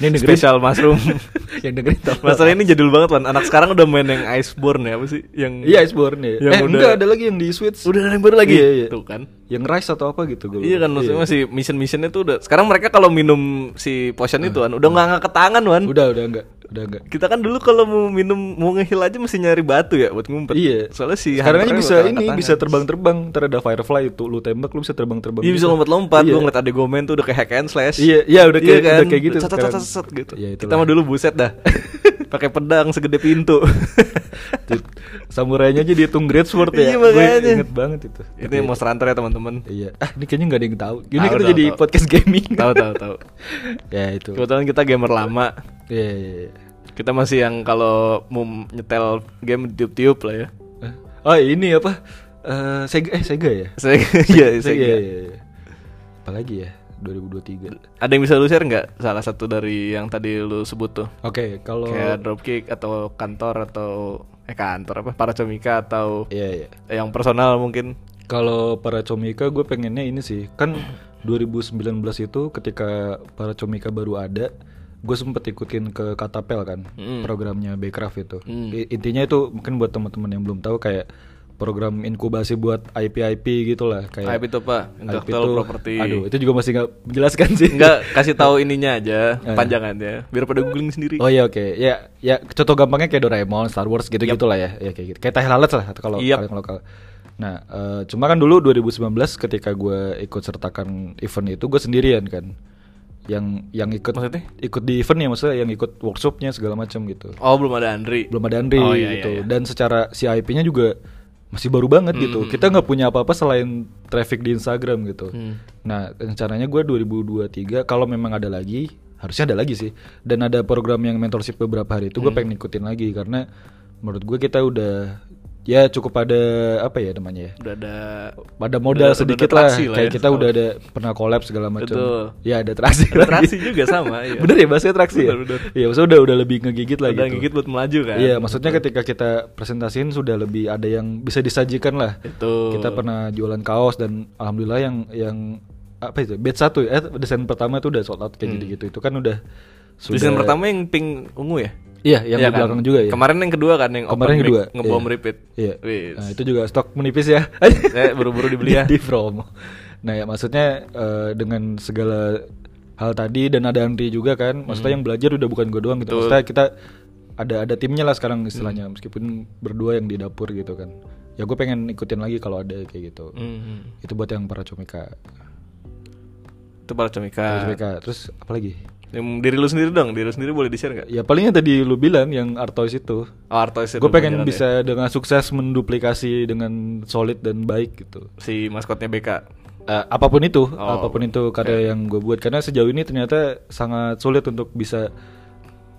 Speaker 2: Ini dengerin.
Speaker 1: special mushroom.
Speaker 2: [LAUGHS] yang dengerin tau.
Speaker 1: Masalah ini jadul banget Wan. Anak sekarang udah main yang Iceborne ya apa sih? Yang
Speaker 2: Iya Iceborne ya.
Speaker 1: Yang
Speaker 2: eh
Speaker 1: udah-
Speaker 2: enggak ada lagi yang di Switch.
Speaker 1: Udah ada yang baru lagi.
Speaker 2: Iya, iya.
Speaker 1: Tuh kan.
Speaker 2: Yang Rise atau apa gitu gue.
Speaker 1: Iya kan maksudnya masih mission-missionnya tuh udah Sekarang mereka kalau minum si potion itu kan Udah nggak ngangkat tangan Wan
Speaker 2: Ah. Udah udah enggak. Udah enggak.
Speaker 1: Kita kan dulu kalau mau minum Mau ngehil aja mesti nyari batu ya buat ngumpet
Speaker 2: Iya.
Speaker 1: Soalnya si
Speaker 2: Sekarang aja
Speaker 1: hunternya
Speaker 2: bisa
Speaker 1: bakal
Speaker 2: ini
Speaker 1: angkat
Speaker 2: bisa
Speaker 1: tangan.
Speaker 2: terbang-terbang. Ntar ada firefly itu lu tembak lu bisa terbang-terbang.
Speaker 1: Iya
Speaker 2: gitu.
Speaker 1: bisa lompat-lompat
Speaker 2: Iya.
Speaker 1: Gue ngeliat adek gue main tuh udah kayak hack and slash
Speaker 2: Iya, iya, udah kayak-
Speaker 1: kan?
Speaker 2: udah kayak gitu
Speaker 1: Cet, cet,
Speaker 2: sekarang.
Speaker 1: cet, cet, cet, gitu
Speaker 2: Iya,
Speaker 1: Kita
Speaker 2: itulah.
Speaker 1: mah dulu buset
Speaker 2: [LAUGHS]
Speaker 1: dah pakai pedang segede pintu
Speaker 2: Dit- Samurainya aja dihitung great sword ya.
Speaker 1: Iya,
Speaker 2: Gue
Speaker 1: makanya.
Speaker 2: inget banget itu.
Speaker 1: Ini monster hunter ya teman-teman
Speaker 2: Iya. Ah, ini kayaknya nggak ada yang tahu. Ini
Speaker 1: Tahu,
Speaker 2: kita
Speaker 1: tahu,
Speaker 2: jadi
Speaker 1: tahu.
Speaker 2: podcast gaming.
Speaker 1: [LAUGHS] Tahu tahu tahu
Speaker 2: [LAUGHS] ya itu.
Speaker 1: Kebetulan kita gamer lama
Speaker 2: Iya, iya, iya.
Speaker 1: Kita masih yang kalau mau nyetel game tiup-tiup lah ya
Speaker 2: Hah? Oh, ini apa? Eh, Sega eh Sega ya? [LAUGHS]
Speaker 1: Saya [LAUGHS] iya, saya
Speaker 2: Iya, iya, iya. Apalagi ya? 2023.
Speaker 1: Ada yang bisa lu share nggak salah satu dari yang tadi lu sebut tuh?
Speaker 2: Oke, kalau
Speaker 1: Kayak dropkick atau kantor atau eh kantor apa? Paracomika atau
Speaker 2: Iya, iya.
Speaker 1: eh, yang personal mungkin.
Speaker 2: Kalau para comika gue pengennya ini sih kan 2019 itu ketika para comika baru ada gue sempet ikutin
Speaker 1: Hmm.
Speaker 2: ke Katapel kan programnya Becraft itu I- intinya itu mungkin buat teman-teman yang belum tahu kayak program inkubasi buat IP IP gitulah kayak
Speaker 1: IP itu apa? Intellectual
Speaker 2: tuh-
Speaker 1: property.
Speaker 2: Aduh, itu juga masih nggak menjelaskan sih. [LAUGHS]
Speaker 1: Enggak kasih tahu ininya aja,
Speaker 2: Eh.
Speaker 1: panjangannya. Biar pada googling sendiri.
Speaker 2: Oh iya oke. Ya ya contoh gampangnya kayak Doraemon, Star Wars gitu-gitu lah ya. Ya kayak gitu. Kayak Tahir Lalat lah atau kalau
Speaker 1: Yep.
Speaker 2: kalian lokal. Nah, eh, cuma kan dulu 2019 ketika gue ikut sertakan event itu gue sendirian kan. Yang yang ikut
Speaker 1: Maksudnya?
Speaker 2: ikut di eventnya maksudnya yang ikut workshopnya segala macam gitu.
Speaker 1: Oh, belum ada Andri.
Speaker 2: Belum ada Andri
Speaker 1: Oh, iya,
Speaker 2: gitu.
Speaker 1: iya, iya.
Speaker 2: Dan secara CIP-nya juga masih baru banget gitu. Kita nggak punya apa-apa selain traffic di Instagram gitu.
Speaker 1: Hmm.
Speaker 2: Nah, rencananya gue 2023 kalau memang ada lagi, harusnya ada lagi sih. Dan ada program yang mentorship beberapa hari itu gue
Speaker 1: Hmm.
Speaker 2: pengen ngikutin lagi karena menurut gue kita udah ya cukup ada apa ya namanya ya?
Speaker 1: Udah ada
Speaker 2: Pada
Speaker 1: Udah-
Speaker 2: modal
Speaker 1: udah
Speaker 2: sedikit
Speaker 1: ada
Speaker 2: lah.
Speaker 1: traksi lah
Speaker 2: Kayak
Speaker 1: ya.
Speaker 2: kita udah ada pernah collab segala
Speaker 1: Betul.
Speaker 2: macam. Ya, ada traksi.
Speaker 1: Ada
Speaker 2: lagi.
Speaker 1: traksi juga sama,
Speaker 2: [LAUGHS]
Speaker 1: iya.
Speaker 2: bener ya bahasnya traksi ya?
Speaker 1: Bener, bener.
Speaker 2: Iya, maksudnya udah udah lebih ngegigit lah
Speaker 1: udah
Speaker 2: gitu.
Speaker 1: gigit buat melaju kan.
Speaker 2: Iya, maksudnya ketika kita presentasiin sudah lebih ada yang bisa disajikan lah.
Speaker 1: Betul.
Speaker 2: Kita pernah jualan kaos dan alhamdulillah yang yang apa itu? Batch satu ya, eh, desain pertama itu udah sold out kayak gitu-gitu. Itu kan udah
Speaker 1: Hmm.
Speaker 2: sudah
Speaker 1: Desain pertama yang pink ungu ya?
Speaker 2: Iya,
Speaker 1: Iya
Speaker 2: yang di
Speaker 1: kan?
Speaker 2: belakang juga ya.
Speaker 1: Kemarin yang kedua kan yang
Speaker 2: Kemarin
Speaker 1: open
Speaker 2: kedua.
Speaker 1: mic, ngebom
Speaker 2: iya.
Speaker 1: repeat.
Speaker 2: Iya.
Speaker 1: Wis.
Speaker 2: Nah, itu juga stok menipis ya. [LAUGHS]
Speaker 1: Saya buru-buru dibeli ya.
Speaker 2: Di, di promo. Nah, ya maksudnya eh, dengan segala hal tadi dan ada Andri juga kan. Maksudnya yang belajar udah bukan gue doang gitu.
Speaker 1: Hmm. Betul. Hmm.
Speaker 2: Maksudnya kita ada ada timnya lah sekarang istilahnya meskipun berdua yang di dapur gitu kan. Ya gue pengen ikutin lagi kalau ada kayak gitu.
Speaker 1: Mhm.
Speaker 2: Itu buat yang para comika.
Speaker 1: Itu para comika.
Speaker 2: Para comika. Terus apa lagi?
Speaker 1: Yang diri lu sendiri dong, diri lu sendiri boleh di-share enggak?
Speaker 2: Ya palingnya tadi lu bilang yang Artois itu.
Speaker 1: Oh, artois itu
Speaker 2: Gue pengen
Speaker 1: berjalan ya.
Speaker 2: bisa dengan sukses menduplikasi dengan solid dan baik gitu.
Speaker 1: si maskotnya BK.
Speaker 2: Eh, apapun itu,
Speaker 1: Oh,
Speaker 2: apapun itu karya yang gue buat karena sejauh ini ternyata sangat sulit untuk bisa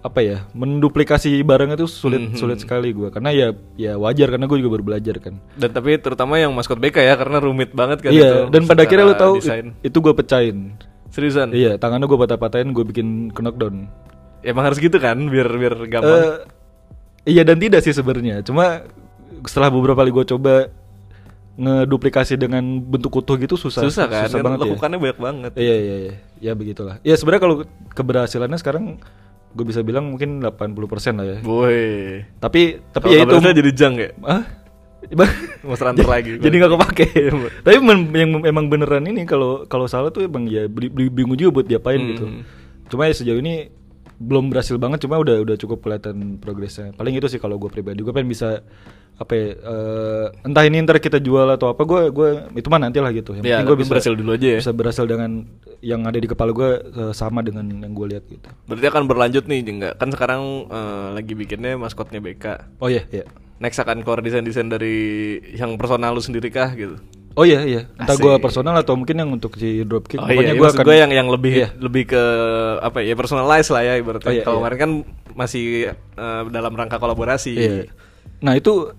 Speaker 2: apa ya menduplikasi barang itu sulit
Speaker 1: Mhm.
Speaker 2: sulit sekali gue karena ya ya wajar karena gue juga baru belajar kan.
Speaker 1: Dan tapi terutama yang maskot BK ya karena rumit banget kan itu.
Speaker 2: Iya dan
Speaker 1: secara
Speaker 2: pada akhirnya lo tahu
Speaker 1: desain.
Speaker 2: it- itu gue pecahin.
Speaker 1: seriusan.
Speaker 2: Iya tangannya gue patah-patahin gue bikin knockdown.
Speaker 1: Emang harus gitu kan biar biar gampang.
Speaker 2: Eh, iya dan tidak sih sebenarnya. Cuma setelah beberapa kali gue coba ngeduplikasi dengan bentuk utuh gitu susah.
Speaker 1: susah kan.
Speaker 2: Susah
Speaker 1: Dan
Speaker 2: banget ya.
Speaker 1: lakukannya banyak banget.
Speaker 2: Iya iya iya. Ya begitulah. Ya sebenarnya kalau keberhasilannya sekarang gue bisa bilang mungkin 80% lah ya.
Speaker 1: Boy.
Speaker 2: Tapi tapi
Speaker 1: Kalau
Speaker 2: ya
Speaker 1: nggak
Speaker 2: itu
Speaker 1: berhasil jadi jang ya.
Speaker 2: Hah?
Speaker 1: [LAUGHS]
Speaker 2: Bang?
Speaker 1: Monster Hunter lagi. Iya,
Speaker 2: Jadi nggak kepake. tapi men- yang emang beneran ini kalau kalau salah tuh emang ya beli- beli- bingung juga buat diapain gitu.
Speaker 1: Hmm.
Speaker 2: Cuma ya sejauh ini belum berhasil banget cuma udah udah cukup kelihatan progresnya. Paling itu sih kalau gue pribadi gue pengen bisa apa ya, eh, entah ini ntar kita jual atau apa gue gue itu mah nanti lah gitu. Yang
Speaker 1: Ya,
Speaker 2: penting gue
Speaker 1: tapi
Speaker 2: bisa
Speaker 1: berhasil dulu aja ya.
Speaker 2: bisa berhasil dengan yang ada di kepala gue eh, sama dengan yang gue lihat gitu.
Speaker 1: Berarti akan berlanjut nih enggak? Kan sekarang eh, lagi bikinnya maskotnya BK.
Speaker 2: Oh iya iya.
Speaker 1: Next akan keluar desain-desain dari yang personal lu sendiri kah gitu.
Speaker 2: Oh iya iya. Entah gue
Speaker 1: Asik.
Speaker 2: personal atau mungkin yang untuk si dropkick.
Speaker 1: Oh
Speaker 2: Pokoknya
Speaker 1: iya,
Speaker 2: gue
Speaker 1: maksud
Speaker 2: akan
Speaker 1: gue yang yang lebih
Speaker 2: Iya.
Speaker 1: lebih ke apa ya personalize lah ya ibaratnya.
Speaker 2: Oh iya,
Speaker 1: Kalau
Speaker 2: iya.
Speaker 1: kemarin kan masih eh, dalam rangka kolaborasi.
Speaker 2: Iya. Nah itu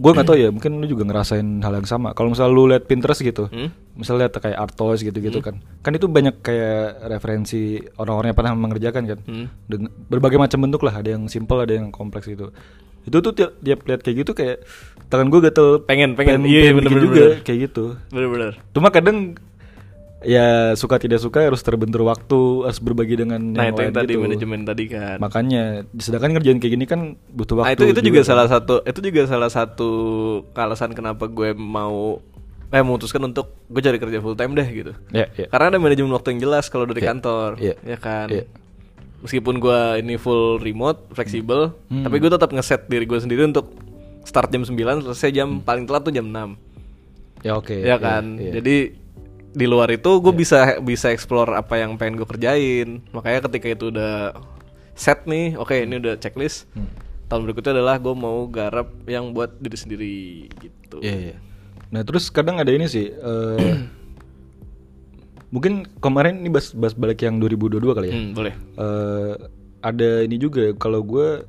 Speaker 2: gue nggak tahu ya. Mungkin lu juga ngerasain hal yang sama. Kalau misal lu lihat Pinterest gitu,
Speaker 1: Hmm?
Speaker 2: misal lihat kayak Artois gitu-gitu kan, kan itu banyak kayak referensi orang-orang yang pernah mengerjakan kan.
Speaker 1: Hmm.
Speaker 2: Dengan- berbagai macam bentuk lah. Ada yang simple, ada yang kompleks gitu. Itu tuh tiap, tiap lihat kayak gitu kayak tangan gue gatel
Speaker 1: Pengen, pengen. Iya, iya,
Speaker 2: bikin
Speaker 1: bener-bener,
Speaker 2: juga
Speaker 1: bener.
Speaker 2: kayak gitu.
Speaker 1: Bener-bener.
Speaker 2: Cuma kadang ya suka tidak suka harus terbentur waktu harus berbagi dengan
Speaker 1: Nah
Speaker 2: yang
Speaker 1: itu yang
Speaker 2: lain
Speaker 1: tadi
Speaker 2: gitu.
Speaker 1: manajemen tadi kan.
Speaker 2: makanya sedangkan ngerjain kayak gini kan butuh
Speaker 1: nah
Speaker 2: waktu
Speaker 1: itu
Speaker 2: kan.
Speaker 1: itu juga salah satu itu juga salah satu alasan kenapa gue mau eh memutuskan untuk gue cari kerja full time deh gitu.
Speaker 2: ya, ya.
Speaker 1: Karena ada manajemen waktu yang jelas kalau dari kantor,
Speaker 2: Iya.
Speaker 1: ya kan.
Speaker 2: Iya.
Speaker 1: Meskipun gue ini full remote, fleksibel,
Speaker 2: Hmm.
Speaker 1: tapi gue tetap ngeset diri gue sendiri untuk start jam 9, selesai
Speaker 2: Hmm.
Speaker 1: jam paling telat tuh jam 6.
Speaker 2: Ya oke.
Speaker 1: ya kan. Jadi di luar itu
Speaker 2: Iya.
Speaker 1: gue bisa bisa explore apa yang pengen gue kerjain. Makanya ketika itu udah set nih, oke
Speaker 2: Hmm.
Speaker 1: ini udah checklist. Tahun berikutnya adalah gue mau garap yang buat diri sendiri gitu.
Speaker 2: Iya, iya. Nah, terus kadang ada ini sih eh, [CLEARS THROAT] mungkin kemarin ini bahas, bahas balik yang 2022 kali ya.
Speaker 1: Hmm, boleh.
Speaker 2: Eh, ada ini juga ya, kalau gue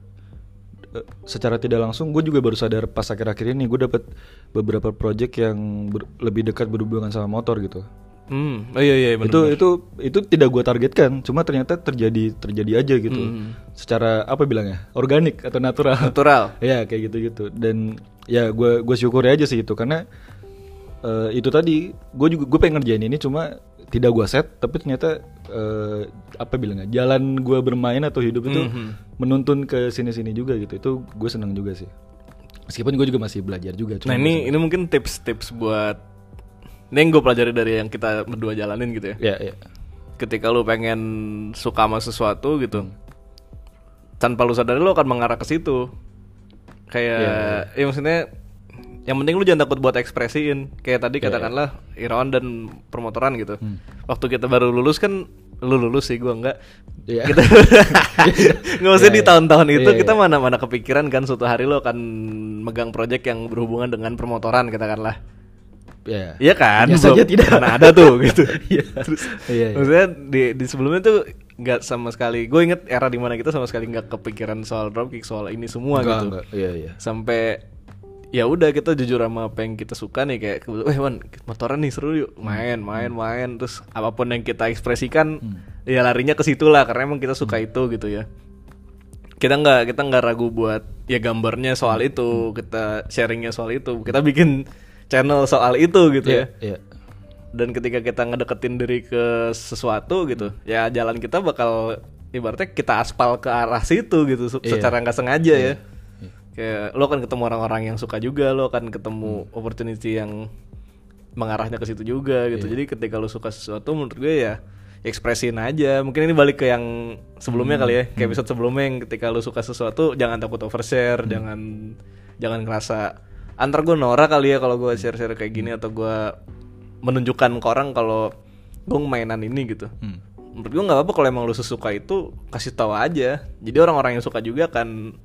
Speaker 2: eh, secara tidak langsung gue juga baru sadar pas akhir-akhir ini gue dapat beberapa project yang ber- lebih dekat berhubungan sama motor gitu.
Speaker 1: Hmm, oh iya iya bener.
Speaker 2: itu itu itu tidak gue targetkan cuma ternyata terjadi terjadi aja gitu
Speaker 1: Hmm.
Speaker 2: secara apa bilangnya organik atau natural
Speaker 1: Natural.
Speaker 2: ya kayak gitu gitu dan ya gue gue syukur aja sih itu karena eh, itu tadi gue juga gue pengen ngerjain ini cuma tidak gue set tapi ternyata eh, apa bilangnya jalan
Speaker 1: Mhm.
Speaker 2: gue bermain atau hidup itu menuntun ke sini sini juga gitu itu gue senang juga sih meskipun gue juga masih belajar juga
Speaker 1: nah
Speaker 2: cuma
Speaker 1: ini ini mungkin tips-tips buat ini yang gue pelajari dari yang kita berdua jalanin gitu ya
Speaker 2: ya ya
Speaker 1: ketika lu pengen suka sama sesuatu gitu
Speaker 2: Hmm.
Speaker 1: tanpa lu sadari lu akan mengarah ke situ
Speaker 2: Iya,
Speaker 1: kayak ya maksudnya yang penting lu jangan takut buat ekspresiin kayak
Speaker 2: Iya,
Speaker 1: tadi katakanlah Irawan dan permotoran gitu
Speaker 2: Hmm.
Speaker 1: waktu kita baru lulus kan lu lulus sih gua enggak
Speaker 2: Iya.
Speaker 1: kita [LAUGHS] nggak usah
Speaker 2: Iya,
Speaker 1: di
Speaker 2: iya.
Speaker 1: tahun-tahun itu
Speaker 2: Iya, iya.
Speaker 1: kita mana-mana kepikiran kan suatu hari lu akan megang project yang berhubungan dengan permotoran katakanlah
Speaker 2: [LAUGHS] ya
Speaker 1: Iya kan?
Speaker 2: Hanya
Speaker 1: belum
Speaker 2: saja tidak.
Speaker 1: pernah ada [LAUGHS] tuh gitu.
Speaker 2: Iya.
Speaker 1: Terus
Speaker 2: Iya, iya.
Speaker 1: maksudnya di, di sebelumnya tuh nggak sama sekali. Gue inget era dimana kita sama sekali nggak kepikiran soal dropkick soal ini semua
Speaker 2: Enggak,
Speaker 1: gitu.
Speaker 2: enggak. iya iya
Speaker 1: Sampai ya udah kita jujur sama apa yang kita suka nih kayak kebetulan, "Weh, Wan, motoran nih seru yuk main main main terus apapun yang kita ekspresikan
Speaker 2: Hmm.
Speaker 1: ya larinya ke situ lah karena emang kita suka itu gitu ya kita nggak kita nggak ragu buat ya gambarnya soal
Speaker 2: Hmm.
Speaker 1: itu kita sharingnya soal itu kita bikin channel soal itu gitu ya
Speaker 2: iya iya
Speaker 1: dan ketika kita ngedeketin diri ke sesuatu
Speaker 2: Hmm.
Speaker 1: gitu ya jalan kita bakal ibaratnya kita aspal ke arah situ gitu se-
Speaker 2: Iya.
Speaker 1: secara nggak sengaja ya kayak lo akan ketemu orang-orang yang suka juga lo akan ketemu opportunity yang mengarahnya ke situ juga gitu jadi ketika lo suka sesuatu menurut gue ya ekspresiin aja mungkin ini balik ke yang sebelumnya kali ya kayak episode sebelumnya yang ketika lo suka sesuatu jangan takut overshare jangan jangan ngerasa antar gue norak kali ya kalau gue share-share kayak gini atau gue menunjukkan ke orang kalau gue mainan ini gitu.
Speaker 2: Hmm.
Speaker 1: Menurut gue nggak apa-apa kalau emang lu sesuka itu kasih tahu aja. Jadi orang-orang yang suka juga akan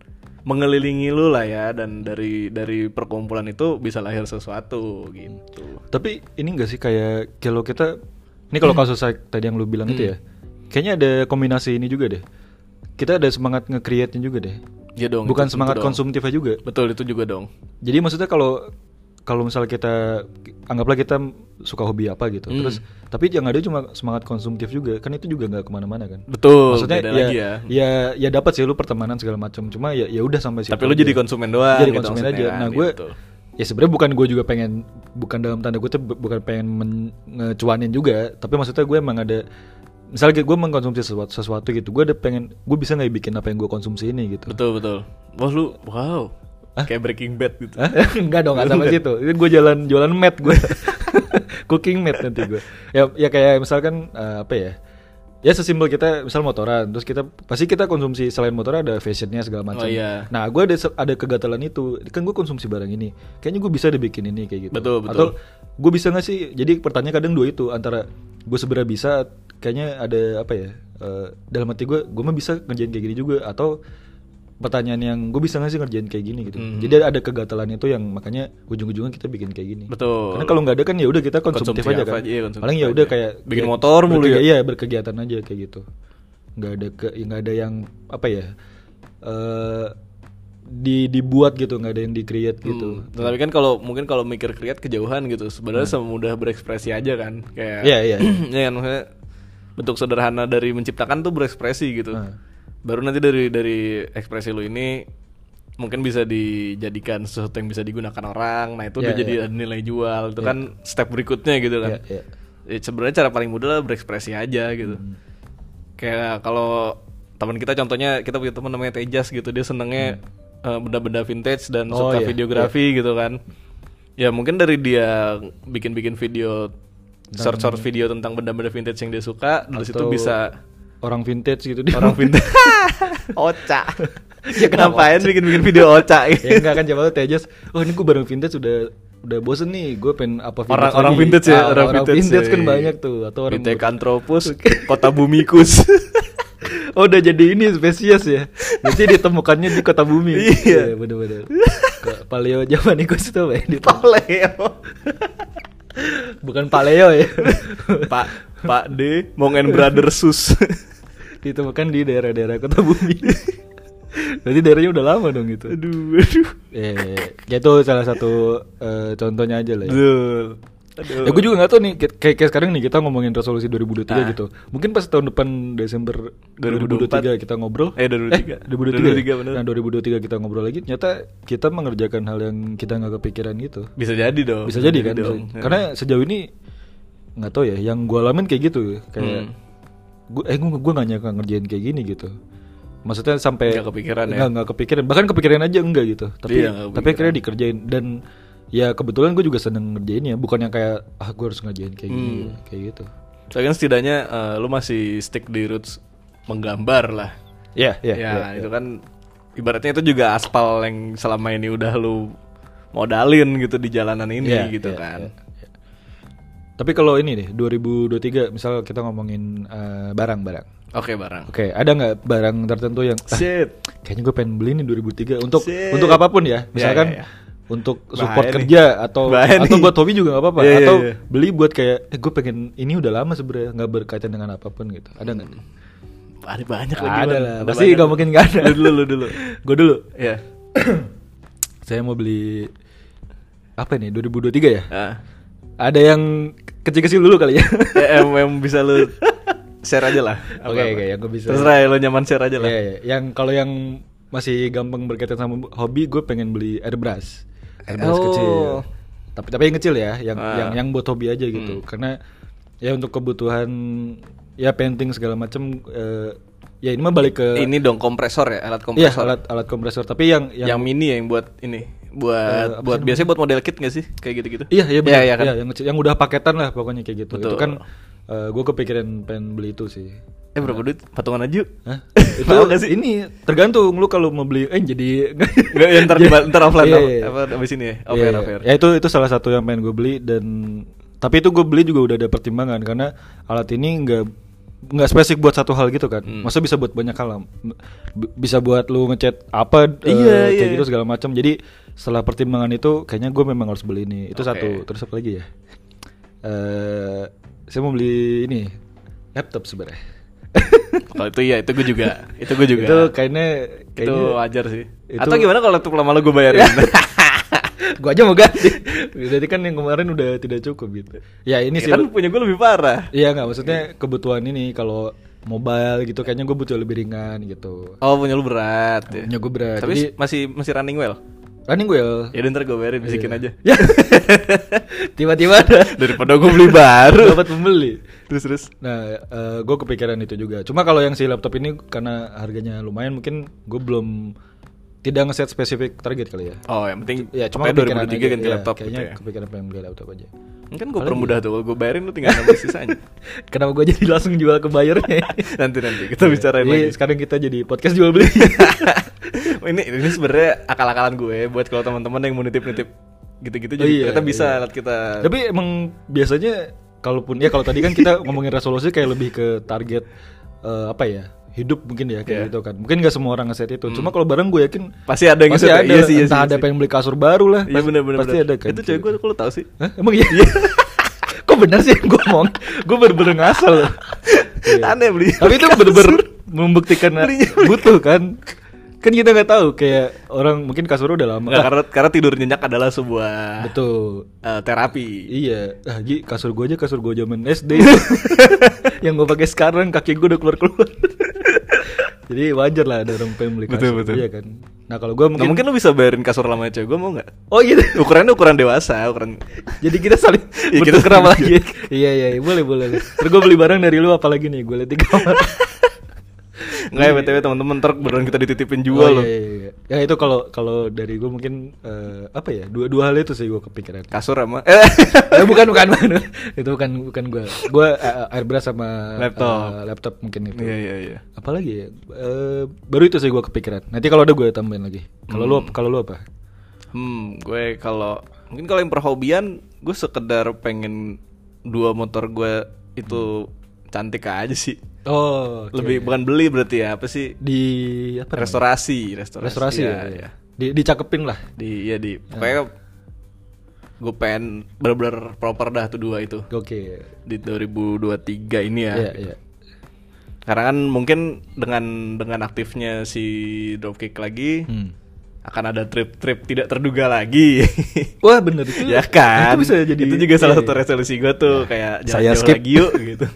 Speaker 1: mengelilingi lu lah ya dan dari dari perkumpulan itu bisa lahir sesuatu gitu.
Speaker 2: Tapi ini enggak sih kayak kalau kita ini kalau
Speaker 1: Hmm.
Speaker 2: kasus saya tadi yang lu bilang itu ya. Kayaknya ada kombinasi ini juga deh. Kita ada semangat nge-create-nya juga deh.
Speaker 1: Iya dong.
Speaker 2: Bukan
Speaker 1: itu- itu
Speaker 2: semangat
Speaker 1: dong.
Speaker 2: konsumtifnya juga.
Speaker 1: Betul itu juga dong.
Speaker 2: Jadi maksudnya kalau kalau misalnya kita anggaplah kita suka hobi apa gitu.
Speaker 1: Hmm.
Speaker 2: Terus tapi yang ada cuma semangat konsumtif juga. Kan itu juga nggak kemana mana kan.
Speaker 1: Betul.
Speaker 2: Maksudnya
Speaker 1: beda
Speaker 2: ya,
Speaker 1: lagi ya.
Speaker 2: ya ya dapat sih lu pertemanan segala macam. Cuma ya ya udah sampai situ.
Speaker 1: Tapi lu
Speaker 2: aja.
Speaker 1: jadi konsumen doang.
Speaker 2: jadi
Speaker 1: gitu
Speaker 2: konsumen aja.
Speaker 1: maksudnya kan,
Speaker 2: Nah gue
Speaker 1: gitu.
Speaker 2: ya sebenarnya bukan gue juga pengen bukan dalam tanda kutip bu- bukan pengen men- ngecuanin juga, tapi maksudnya gue emang ada misalnya gue mengkonsumsi sesuatu, sesuatu gitu, gue ada pengen gue bisa nggak bikin apa yang gue konsumsi ini gitu.
Speaker 1: Betul betul. Wah lu wow. Kayak Breaking Bad gitu.
Speaker 2: Hah? [LAUGHS] Enggak dong, enggak sampai situ. Itu gue jalan jualan mat
Speaker 1: [LAUGHS]
Speaker 2: gue. Cooking mat nanti gue. Ya ya kayak misalkan eh, apa ya? Ya sesimpel kita misal motoran, terus kita pasti kita konsumsi selain motoran ada fashionnya segala macam.
Speaker 1: Oh, iya.
Speaker 2: Nah, gue ada se- ada kegatalan itu. Kan gue konsumsi barang ini. Kayaknya gue bisa deh bikin ini kayak gitu.
Speaker 1: Betul, betul.
Speaker 2: Atau gue bisa nggak sih? Jadi pertanyaan kadang dua itu antara gue sebenarnya bisa, kayaknya ada apa ya? eh, dalam hati gue, gue mah bisa ngerjain kayak gini juga. Atau pertanyaan yang gue bisa nggak sih ngerjain kayak gini gitu.
Speaker 1: Mhm.
Speaker 2: Jadi ada kegatalan itu yang makanya ujung-ujungnya kita bikin kayak gini.
Speaker 1: Betul.
Speaker 2: Karena kalau nggak ada kan ya udah kita konsumtif,
Speaker 1: Konsumtif
Speaker 2: aja
Speaker 1: apa
Speaker 2: kan.
Speaker 1: aja, iya, konsumtif
Speaker 2: Paling ya udah
Speaker 1: aja.
Speaker 2: kayak
Speaker 1: Bikin
Speaker 2: ya,
Speaker 1: motor mulu
Speaker 2: berkegi-
Speaker 1: ya.
Speaker 2: Iya, berkegiatan aja kayak gitu. Nggak ada ke ya nggak ada yang apa ya? eh di dibuat gitu, nggak ada yang di-create gitu.
Speaker 1: Hmm, Tapi kan kalau mungkin kalau mikir kreat kejauhan gitu, sebenarnya semudah berekspresi aja kan, kayak.
Speaker 2: Hmm. Iya, iya, iya.
Speaker 1: [CLEARS THROAT] Iya kan maksudnya bentuk sederhana dari menciptakan tuh berekspresi gitu.
Speaker 2: Hmm.
Speaker 1: Baru nanti dari dari ekspresi lu ini mungkin bisa dijadikan sesuatu yang bisa digunakan orang. Nah itu udah
Speaker 2: Iya,
Speaker 1: jadi
Speaker 2: iya.
Speaker 1: ada nilai jual. Itu kan step berikutnya gitu kan.
Speaker 2: Iya, iya.
Speaker 1: Ya, sebenarnya cara paling mudah lah berekspresi aja gitu.
Speaker 2: Hmm.
Speaker 1: Kayak kalau teman kita contohnya kita punya teman namanya Tejas gitu, dia senengnya eh, benda-benda vintage dan
Speaker 2: Hmm. Oh,
Speaker 1: suka
Speaker 2: iya,
Speaker 1: videografi gitu kan. Ya mungkin dari dia bikin-bikin video short-short video tentang benda-benda vintage yang dia suka, dari situ
Speaker 2: Atau
Speaker 1: bisa
Speaker 2: [LAUGHS] orang vintage gitu dia.
Speaker 1: [LAUGHS]
Speaker 2: [LAUGHS]
Speaker 1: orang vintage oca. ya kenapain bikin-bikin video
Speaker 2: [LAUGHS]
Speaker 1: oca? gitu?
Speaker 2: ya enggak kan coba lu Tejas, wah ini gue barang vintage udah udah bosen nih, gue pengen apa vintage
Speaker 1: Orang-orang
Speaker 2: lagi.
Speaker 1: vintage ya,
Speaker 2: Ah,
Speaker 1: orang vintage ya,
Speaker 2: kan
Speaker 1: iya.
Speaker 2: banyak tuh atau orang
Speaker 1: Vintage
Speaker 2: [LAUGHS]
Speaker 1: Anthropus, Kota Bumikus.
Speaker 2: Oh udah jadi ini spesies ya Berarti ditemukannya di kota bumi
Speaker 1: Iya.
Speaker 2: Iya bener-bener Ke- Paleo zaman ikus itu apa ya Ditem-
Speaker 1: Paleo.
Speaker 2: Bukan paleo ya
Speaker 1: [LAUGHS] Pak Pak D, Mong and Brother
Speaker 2: [LAUGHS]
Speaker 1: Sus.
Speaker 2: Ditemukan di daerah-daerah kota bumi Berarti daerahnya udah lama dong gitu
Speaker 1: aduh, aduh.
Speaker 2: Eh, ya itu salah satu eh, contohnya aja lah ya.
Speaker 1: Aduh.
Speaker 2: Ya gue juga gak tau nih, kayak, kayak sekarang nih kita ngomongin resolusi 2023
Speaker 1: Ah.
Speaker 2: gitu Mungkin pas tahun depan Desember
Speaker 1: 2024.
Speaker 2: 2023 kita ngobrol
Speaker 1: Eh, 2023. 2023,
Speaker 2: 2023,
Speaker 1: bener.
Speaker 2: Nah 2023 kita ngobrol lagi, ternyata kita mengerjakan hal yang kita gak kepikiran gitu
Speaker 1: Bisa jadi iya. dong.
Speaker 2: bisa jadi kan
Speaker 1: dong.
Speaker 2: bisa- karena sejauh ini nggak tahu ya yang gue alamin kayak gitu
Speaker 1: Hmm.
Speaker 2: kayak gue eh gue gue nggak nyangka ngerjain kayak gini gitu maksudnya sampai
Speaker 1: Nggak kepikiran ya?
Speaker 2: nggak nggak kepikiran bahkan kepikiran aja enggak gitu tapi
Speaker 1: Iya, nggak
Speaker 2: tapi akhirnya dikerjain dan ya kebetulan gue juga seneng ngerjainnya bukan yang kayak ah gue harus ngerjain kayak gini
Speaker 1: Hmm.
Speaker 2: kayak gitu
Speaker 1: Tapi kan setidaknya eh, lu masih stick di roots menggambar lah.
Speaker 2: ya ya
Speaker 1: ya,
Speaker 2: ya.
Speaker 1: itu kan ibaratnya itu juga aspal yang selama ini udah lu modalin gitu di jalanan ini
Speaker 2: Iya,
Speaker 1: gitu
Speaker 2: iya,
Speaker 1: kan.
Speaker 2: iya. tapi kalau ini deh 2023 misal kita ngomongin eh, barang-barang
Speaker 1: Oke
Speaker 2: [LAUGHS]
Speaker 1: barang.
Speaker 2: oke ada nggak barang tertentu yang "Ah,
Speaker 1: Shit.
Speaker 2: kayaknya gue pengen beli nih 2003 untuk
Speaker 1: Sip.
Speaker 2: untuk apapun ya misalkan
Speaker 1: ya, ya.
Speaker 2: untuk
Speaker 1: Bahaya
Speaker 2: support
Speaker 1: nih.
Speaker 2: kerja atau
Speaker 1: Bahaya
Speaker 2: atau
Speaker 1: nih.
Speaker 2: buat hobi juga nggak apa-apa
Speaker 1: Iya, iya,
Speaker 2: atau
Speaker 1: iya.
Speaker 2: beli buat kayak eh, gue pengen ini udah lama sebenarnya nggak berkaitan dengan apapun gitu ada nggak
Speaker 1: Hmm. Ada banyak lagi.
Speaker 2: ada
Speaker 1: Bang.
Speaker 2: lah
Speaker 1: Ada
Speaker 2: pasti
Speaker 1: banyak.
Speaker 2: nggak mungkin nggak ada
Speaker 1: Lu dulu lu
Speaker 2: [LAUGHS]
Speaker 1: dulu.
Speaker 2: gue dulu
Speaker 1: Ya.
Speaker 2: saya mau beli apa nih 2023 ya
Speaker 1: Ah.
Speaker 2: ada yang kecil-kecil dulu kali ya
Speaker 1: Ya, em, em bisa lu share aja
Speaker 2: [LAUGHS]
Speaker 1: lah.
Speaker 2: Oke,
Speaker 1: Apa-apa.
Speaker 2: oke, yang gua bisa.
Speaker 1: Terserah ya, lu nyaman share aja lah.
Speaker 2: Iya, iya. yang kalau yang masih gampang berkaitan sama hobi, gue pengen beli airbrush, airbrush
Speaker 1: Oh.
Speaker 2: kecil. Tapi tapi yang kecil ya, yang
Speaker 1: Ah.
Speaker 2: yang yang buat hobi aja gitu. Karena ya untuk kebutuhan ya painting segala macam, eh, ya ini mah balik ke
Speaker 1: Ini dong kompresor ya, alat
Speaker 2: Iya,
Speaker 1: kompresor.
Speaker 2: alat alat kompresor. Tapi yang
Speaker 1: yang,
Speaker 2: yang,
Speaker 1: mini ya yang buat ini. Buat
Speaker 2: Eh, apa sih
Speaker 1: buat
Speaker 2: namanya?
Speaker 1: biasanya buat model kit gak sih? Kayak gitu-gitu.
Speaker 2: iya iya benar,
Speaker 1: Iya, iya kan.
Speaker 2: Iya, yang kecil, yang udah paketan lah pokoknya kayak gitu. Itu
Speaker 1: Betul.
Speaker 2: kan gue kepikiran pengen beli itu sih.
Speaker 1: Eh berapa duit? Patungan aja yuk. [LAUGHS]
Speaker 2: [LAUGHS] Hah?
Speaker 1: Itu
Speaker 2: itu ini tergantung lu kalau mau beli eh jadi [LAUGHS]
Speaker 1: Nggak, ya, ntar, di, ntar offline
Speaker 2: Iya,
Speaker 1: off-
Speaker 2: iya.
Speaker 1: apa abis ini ya?
Speaker 2: Iya,
Speaker 1: Offer,
Speaker 2: iya.
Speaker 1: offer.
Speaker 2: Ya itu itu salah satu yang pengen gue beli dan tapi itu gue beli juga udah ada pertimbangan karena alat ini nggak nggak spesifik buat satu hal gitu kan. Maksudnya bisa buat banyak hal. lah. B- Bisa buat lu ngecat apa eh,
Speaker 1: Iya,
Speaker 2: kayak
Speaker 1: iya.
Speaker 2: gitu segala macam. Jadi setelah pertimbangan itu kayaknya gue memang harus beli ini. Itu
Speaker 1: Oke.
Speaker 2: satu. Terus apa lagi ya? Eh saya mau beli ini laptop sebenarnya.
Speaker 1: Kalau itu iya, itu gue juga. Itu gue juga.
Speaker 2: itu
Speaker 1: itu,
Speaker 2: kayaknya kayaknya
Speaker 1: wajar sih.
Speaker 2: itu-
Speaker 1: Atau gimana kalau laptop lama lo gue bayarin?
Speaker 2: gue aja mau ganti. [LAUGHS] Jadi kan yang kemarin udah tidak cukup gitu. Ya [LAUGHS] ini
Speaker 1: [LAUGHS] Ya
Speaker 2: sih
Speaker 1: kan punya gue lebih parah.
Speaker 2: Iya nggak maksudnya kebutuhan ini kalau mobile gitu kayaknya gue butuh lebih ringan gitu.
Speaker 1: Oh punya lu berat ya.
Speaker 2: Punya gue berat.
Speaker 1: Tapi
Speaker 2: Jadi
Speaker 1: masih masih running well.
Speaker 2: running gue
Speaker 1: Ya udah ntar gue bayarin bisikin aja.
Speaker 2: ya. [LAUGHS] Tiba-tiba ada
Speaker 1: Daripada gue beli
Speaker 2: [LAUGHS]
Speaker 1: baru.
Speaker 2: dapat pembeli.
Speaker 1: terus terus.
Speaker 2: Nah, gue kepikiran itu juga. Cuma kalau yang si laptop ini karena harganya lumayan, mungkin gue belum tidak ngeset spesifik target kali ya.
Speaker 1: Oh yang penting
Speaker 2: Ya, cuma
Speaker 1: pokoknya 2003
Speaker 2: kepikiran aja.
Speaker 1: ganti
Speaker 2: Iya,
Speaker 1: laptop gitu
Speaker 2: Kayaknya iya.
Speaker 1: ya.
Speaker 2: kepikiran pengen beli laptop aja.
Speaker 1: Kan gue permudah tuh, kalau gue bayarin lu tinggal
Speaker 2: [LAUGHS]
Speaker 1: nambah sisanya.
Speaker 2: Kenapa gue jadi langsung jual ke
Speaker 1: [LAUGHS]
Speaker 2: bayarnya?
Speaker 1: Nanti nanti kita bicarain
Speaker 2: Jadi
Speaker 1: lagi.
Speaker 2: Sekarang kita jadi podcast jual beli.
Speaker 1: [LAUGHS] ini ini sebenarnya akal-akalan gue buat kalau teman-teman yang mau nitip-nitip gitu-gitu jadi
Speaker 2: Oh, iya,
Speaker 1: ternyata bisa
Speaker 2: iya.
Speaker 1: alat kita
Speaker 2: Tapi emang biasanya kalaupun ya kalau tadi kan
Speaker 1: [LAUGHS]
Speaker 2: kita ngomongin resolusi kayak lebih ke target eh, apa ya hidup mungkin ya kayak
Speaker 1: Iya. Hmm.
Speaker 2: gitu kan. Mungkin nggak semua orang ngeset itu. Cuma kalau barang gue yakin
Speaker 1: pasti ada yang
Speaker 2: pasti
Speaker 1: gitu,
Speaker 2: ada.
Speaker 1: iya sih, iya
Speaker 2: entah
Speaker 1: sih,
Speaker 2: ada
Speaker 1: iya
Speaker 2: pengen beli kasur baru lah.
Speaker 1: sih. iya
Speaker 2: pasti-
Speaker 1: bener bener
Speaker 2: Pasti
Speaker 1: bener.
Speaker 2: ada kan.
Speaker 1: itu cewek gue
Speaker 2: kayak gitu.
Speaker 1: kok lu tau sih
Speaker 2: Hah? Emang iya. [LAUGHS] Kok bener sih yang gue ngomong? Gue bener-bener ngasal. Iya.
Speaker 1: aneh beli
Speaker 2: Tapi itu bener-bener membuktikan
Speaker 1: Belinya
Speaker 2: butuh kan. Kan kita nggak tahu kayak orang mungkin kasur udah lama.
Speaker 1: Nggak,
Speaker 2: Ah,
Speaker 1: karena karena tidur nyenyak adalah sebuah
Speaker 2: Betul.
Speaker 1: eh, terapi
Speaker 2: Iya, ah, Gi, kasur gue aja kasur gue zaman
Speaker 1: [LAUGHS]
Speaker 2: SD. yang gue pakai sekarang kaki gue udah keluar
Speaker 1: [LAUGHS]
Speaker 2: keluar. Jadi wajar lah ada orang pengen beli
Speaker 1: Betul,
Speaker 2: kasur.
Speaker 1: betul.
Speaker 2: Iya kan. Nah kalau gue
Speaker 1: mungkin,
Speaker 2: mungkin,
Speaker 1: mungkin lu bisa bayarin kasur lama cewek gue mau nggak
Speaker 2: oh gitu.
Speaker 1: ukurannya ukuran dewasa
Speaker 2: [LAUGHS]
Speaker 1: ukuran
Speaker 2: Jadi kita saling
Speaker 1: Ya, kita
Speaker 2: bertukar apa
Speaker 1: saling-
Speaker 2: lagi. iya iya iya, boleh boleh. boleh. Terus gue beli barang dari lu apalagi nih? Gue liat di kamar.
Speaker 1: nggak ya btw teman-teman ntar beneran kita dititipin juga
Speaker 2: Oh,
Speaker 1: loh
Speaker 2: iya, iya, iya. Ya itu kalau kalau dari gue mungkin eh, apa ya? Dua dua hal itu sih gue kepikiran.
Speaker 1: kasur sama [LAUGHS] eh,
Speaker 2: Eh, bukan bukan [LAUGHS] bukan. itu bukan bukan gue. Gue airbrush sama eh,
Speaker 1: Laptop.
Speaker 2: laptop mungkin itu.
Speaker 1: iya iya iya
Speaker 2: apalagi ya Eh, baru itu sih gue kepikiran nanti kalau ada gue tambahin lagi kalau lu kalau lu apa
Speaker 1: Hmm, gue kalau mungkin kalau yang perhobian, gue sekedar pengen dua motor gue itu cantik aja sih.
Speaker 2: oh
Speaker 1: Lebih bukan beli berarti ya, apa sih?
Speaker 2: di apa namanya?
Speaker 1: Restorasi, restorasi. Iya,
Speaker 2: restorasi ya, ya. Di, dicakepin lah
Speaker 1: Di ya di pokoknya gue pengen bener-bener proper dah tuh dua itu
Speaker 2: oke
Speaker 1: di 2023 ini ya.
Speaker 2: iya iya
Speaker 1: Karena kan mungkin dengan dengan aktifnya si Dropkick lagi
Speaker 2: Hmm.
Speaker 1: akan ada trip-trip tidak terduga lagi. [LAUGHS]
Speaker 2: wah bener itu
Speaker 1: ya kan
Speaker 2: Iya itu bisa jadi
Speaker 1: itu juga salah
Speaker 2: iya,
Speaker 1: satu resolusi gue tuh kayak jangan
Speaker 2: Saya
Speaker 1: jauh
Speaker 2: skip.
Speaker 1: lagi yuk
Speaker 2: [LAUGHS]
Speaker 1: gitu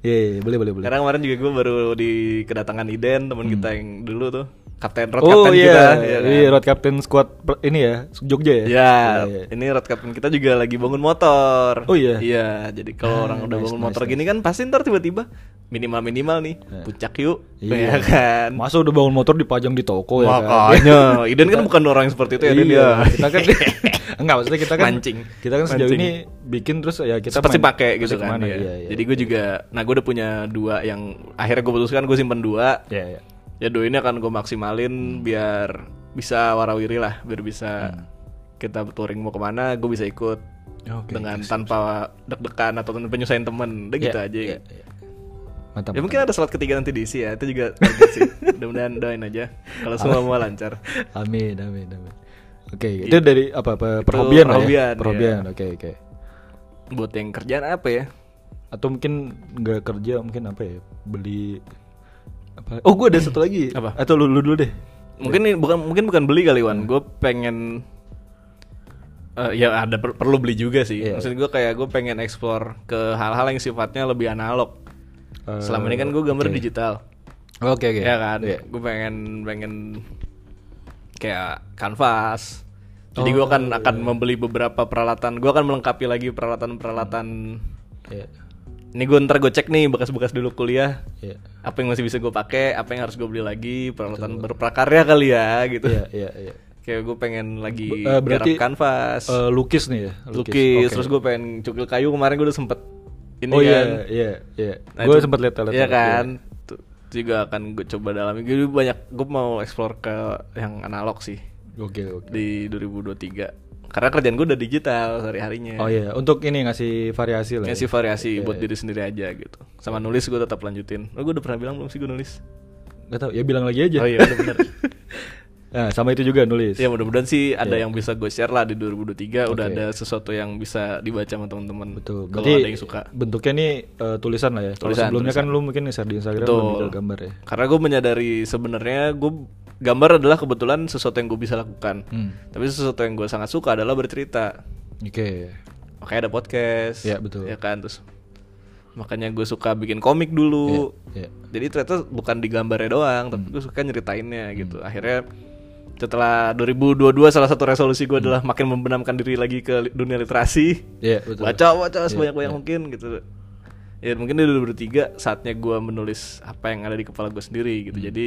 Speaker 2: iya iya, iya, boleh boleh boleh
Speaker 1: karena kemarin juga gue baru di kedatangan Iden teman kita yang dulu tuh kapten road kapten kita ya kan?
Speaker 2: Hmm. Oh, Iya, road captain squad per- ini ya, Jogja ya.
Speaker 1: Ya,
Speaker 2: Iya, iya.
Speaker 1: ini road captain kita juga lagi bangun motor.
Speaker 2: Oh, iya?
Speaker 1: Iya, jadi kalau
Speaker 2: Ah,
Speaker 1: orang udah
Speaker 2: nice,
Speaker 1: bangun
Speaker 2: nice,
Speaker 1: motor
Speaker 2: nice.
Speaker 1: gini kan pasti ntar tiba-tiba minimal minimal nih puncak yuk,
Speaker 2: Iya.
Speaker 1: ya kan.
Speaker 2: Masa udah bangun motor dipajang di toko ya kan. [LAUGHS]
Speaker 1: Makanya, Iden kan bukan orang yang seperti itu ya, Iden
Speaker 2: Iya,
Speaker 1: ya.
Speaker 2: kita
Speaker 1: [LAUGHS]
Speaker 2: kan enggak maksudnya kita kan
Speaker 1: Mancing.
Speaker 2: Kita kan sejauh
Speaker 1: Mancing.
Speaker 2: ini bikin terus ya kita
Speaker 1: pasti
Speaker 2: main-
Speaker 1: pakai gitu
Speaker 2: pasti
Speaker 1: kan.
Speaker 2: kemana,
Speaker 1: iya.
Speaker 2: iya, iya.
Speaker 1: Jadi gue juga, nah gue udah punya dua yang akhirnya gue putuskan gue simpen dua.
Speaker 2: Iya, iya.
Speaker 1: Ya dua ini akan gue maksimalin biar bisa warawiri lah, biar bisa kita touring mau kemana, gue bisa ikut
Speaker 2: Hmm. Oke,
Speaker 1: dengan tanpa deg-degan atau tanpa penyusahin temen, udah gitu
Speaker 2: Iya,
Speaker 1: aja.
Speaker 2: iya, iya. Mantap.
Speaker 1: Ya mungkin ada slot ketiga nanti diisi ya, itu juga target
Speaker 2: [LAUGHS]
Speaker 1: sih. Mudah-mudahan doain aja. Kalau semua mau lancar.
Speaker 2: Amin, amin, amin. Oke, itu dari apa, apa perhobian lah
Speaker 1: perhobian,
Speaker 2: ya.
Speaker 1: iya.
Speaker 2: Perhobian, oke, oke.
Speaker 1: Buat yang kerjaan apa ya?
Speaker 2: Atau mungkin nggak kerja, mungkin apa ya? Beli apa? Oh, gue ada satu lagi.
Speaker 1: Apa?
Speaker 2: Atau lu, lu dulu deh.
Speaker 1: Mungkin ini bukan mungkin bukan beli kali
Speaker 2: Hmm.
Speaker 1: Wan. Gue pengen eh, ya ada per- perlu beli juga sih.
Speaker 2: Iya.
Speaker 1: Maksud gue kayak gue pengen explore ke hal-hal yang sifatnya lebih analog.
Speaker 2: Eh,
Speaker 1: Selama ini kan gue gambar
Speaker 2: oke.
Speaker 1: digital,
Speaker 2: Oke, oke.
Speaker 1: ya kan?
Speaker 2: Iya.
Speaker 1: Gue pengen pengen kayak kanvas. Jadi gue
Speaker 2: Oh,
Speaker 1: akan akan membeli beberapa peralatan. Gue akan melengkapi lagi peralatan-peralatan
Speaker 2: Iya.
Speaker 1: Ini gue ntar gue cek nih bekas-bekas dulu kuliah
Speaker 2: Iya.
Speaker 1: apa yang masih bisa gue pakai, apa yang harus gue beli lagi, peralatan berprakarya kali ya gitu.
Speaker 2: Iya, iya, iya.
Speaker 1: Kayak gue pengen lagi
Speaker 2: Be- eh,
Speaker 1: garap
Speaker 2: berarti,
Speaker 1: kanvas,
Speaker 2: Eh, lukis nih ya,
Speaker 1: lukis,
Speaker 2: Oke.
Speaker 1: terus gue pengen cukil kayu kemarin gue udah sempet ini
Speaker 2: Oh
Speaker 1: kan.
Speaker 2: iya, iya, iya.
Speaker 1: Nah,
Speaker 2: gue
Speaker 1: itu-
Speaker 2: sempat lihat lihat.
Speaker 1: Iya
Speaker 2: lihat,
Speaker 1: kan. Tuh, itu juga akan gue coba dalami. Gue banyak gue mau explore ke yang analog sih
Speaker 2: Oke, oke.
Speaker 1: di 2023. Karena kerjaan gue udah digital sehari-harinya.
Speaker 2: Oh iya, untuk ini ngasih variasi lah. ya.
Speaker 1: Ngasih variasi buat diri sendiri aja gitu. Sama nulis gue tetap lanjutin. Oh, gue udah pernah bilang belum sih gue nulis?
Speaker 2: Gak tau, ya bilang lagi
Speaker 1: Oh
Speaker 2: aja.
Speaker 1: iya, udah
Speaker 2: [LAUGHS]
Speaker 1: bener.
Speaker 2: Nah, sama itu juga nulis.
Speaker 1: Ya mudah-mudahan sih ada yang bisa gue share lah di 2023 udah ada sesuatu yang bisa dibaca sama teman-teman.
Speaker 2: Betul.
Speaker 1: Kalau ada yang suka.
Speaker 2: bentuknya nih eh, tulisan lah ya. Kalau
Speaker 1: Tulisan,
Speaker 2: sebelumnya kan lu mungkin share di Instagram
Speaker 1: Betul.
Speaker 2: lebih ke gambar ya.
Speaker 1: Karena gue menyadari sebenarnya gue gambar adalah kebetulan sesuatu yang gue bisa lakukan.
Speaker 2: Hmm.
Speaker 1: Tapi sesuatu yang gue sangat suka adalah bercerita.
Speaker 2: Oke.
Speaker 1: Makanya ada podcast.
Speaker 2: Ya, betul.
Speaker 1: Ya kan terus makanya gue suka bikin komik dulu.
Speaker 2: Ya. Hmm.
Speaker 1: Jadi ternyata bukan di gambarnya doang, tapi gue suka nyeritainnya gitu. Akhirnya setelah 2022 salah satu resolusi
Speaker 2: Hmm.
Speaker 1: gue adalah makin membenamkan diri lagi ke li- dunia literasi.
Speaker 2: Ya, betul. iya.
Speaker 1: Baca baca sebanyak banyak mungkin gitu. Ya mungkin di 2023 saatnya gue menulis apa yang ada di kepala gue sendiri gitu.
Speaker 2: Hmm.
Speaker 1: Jadi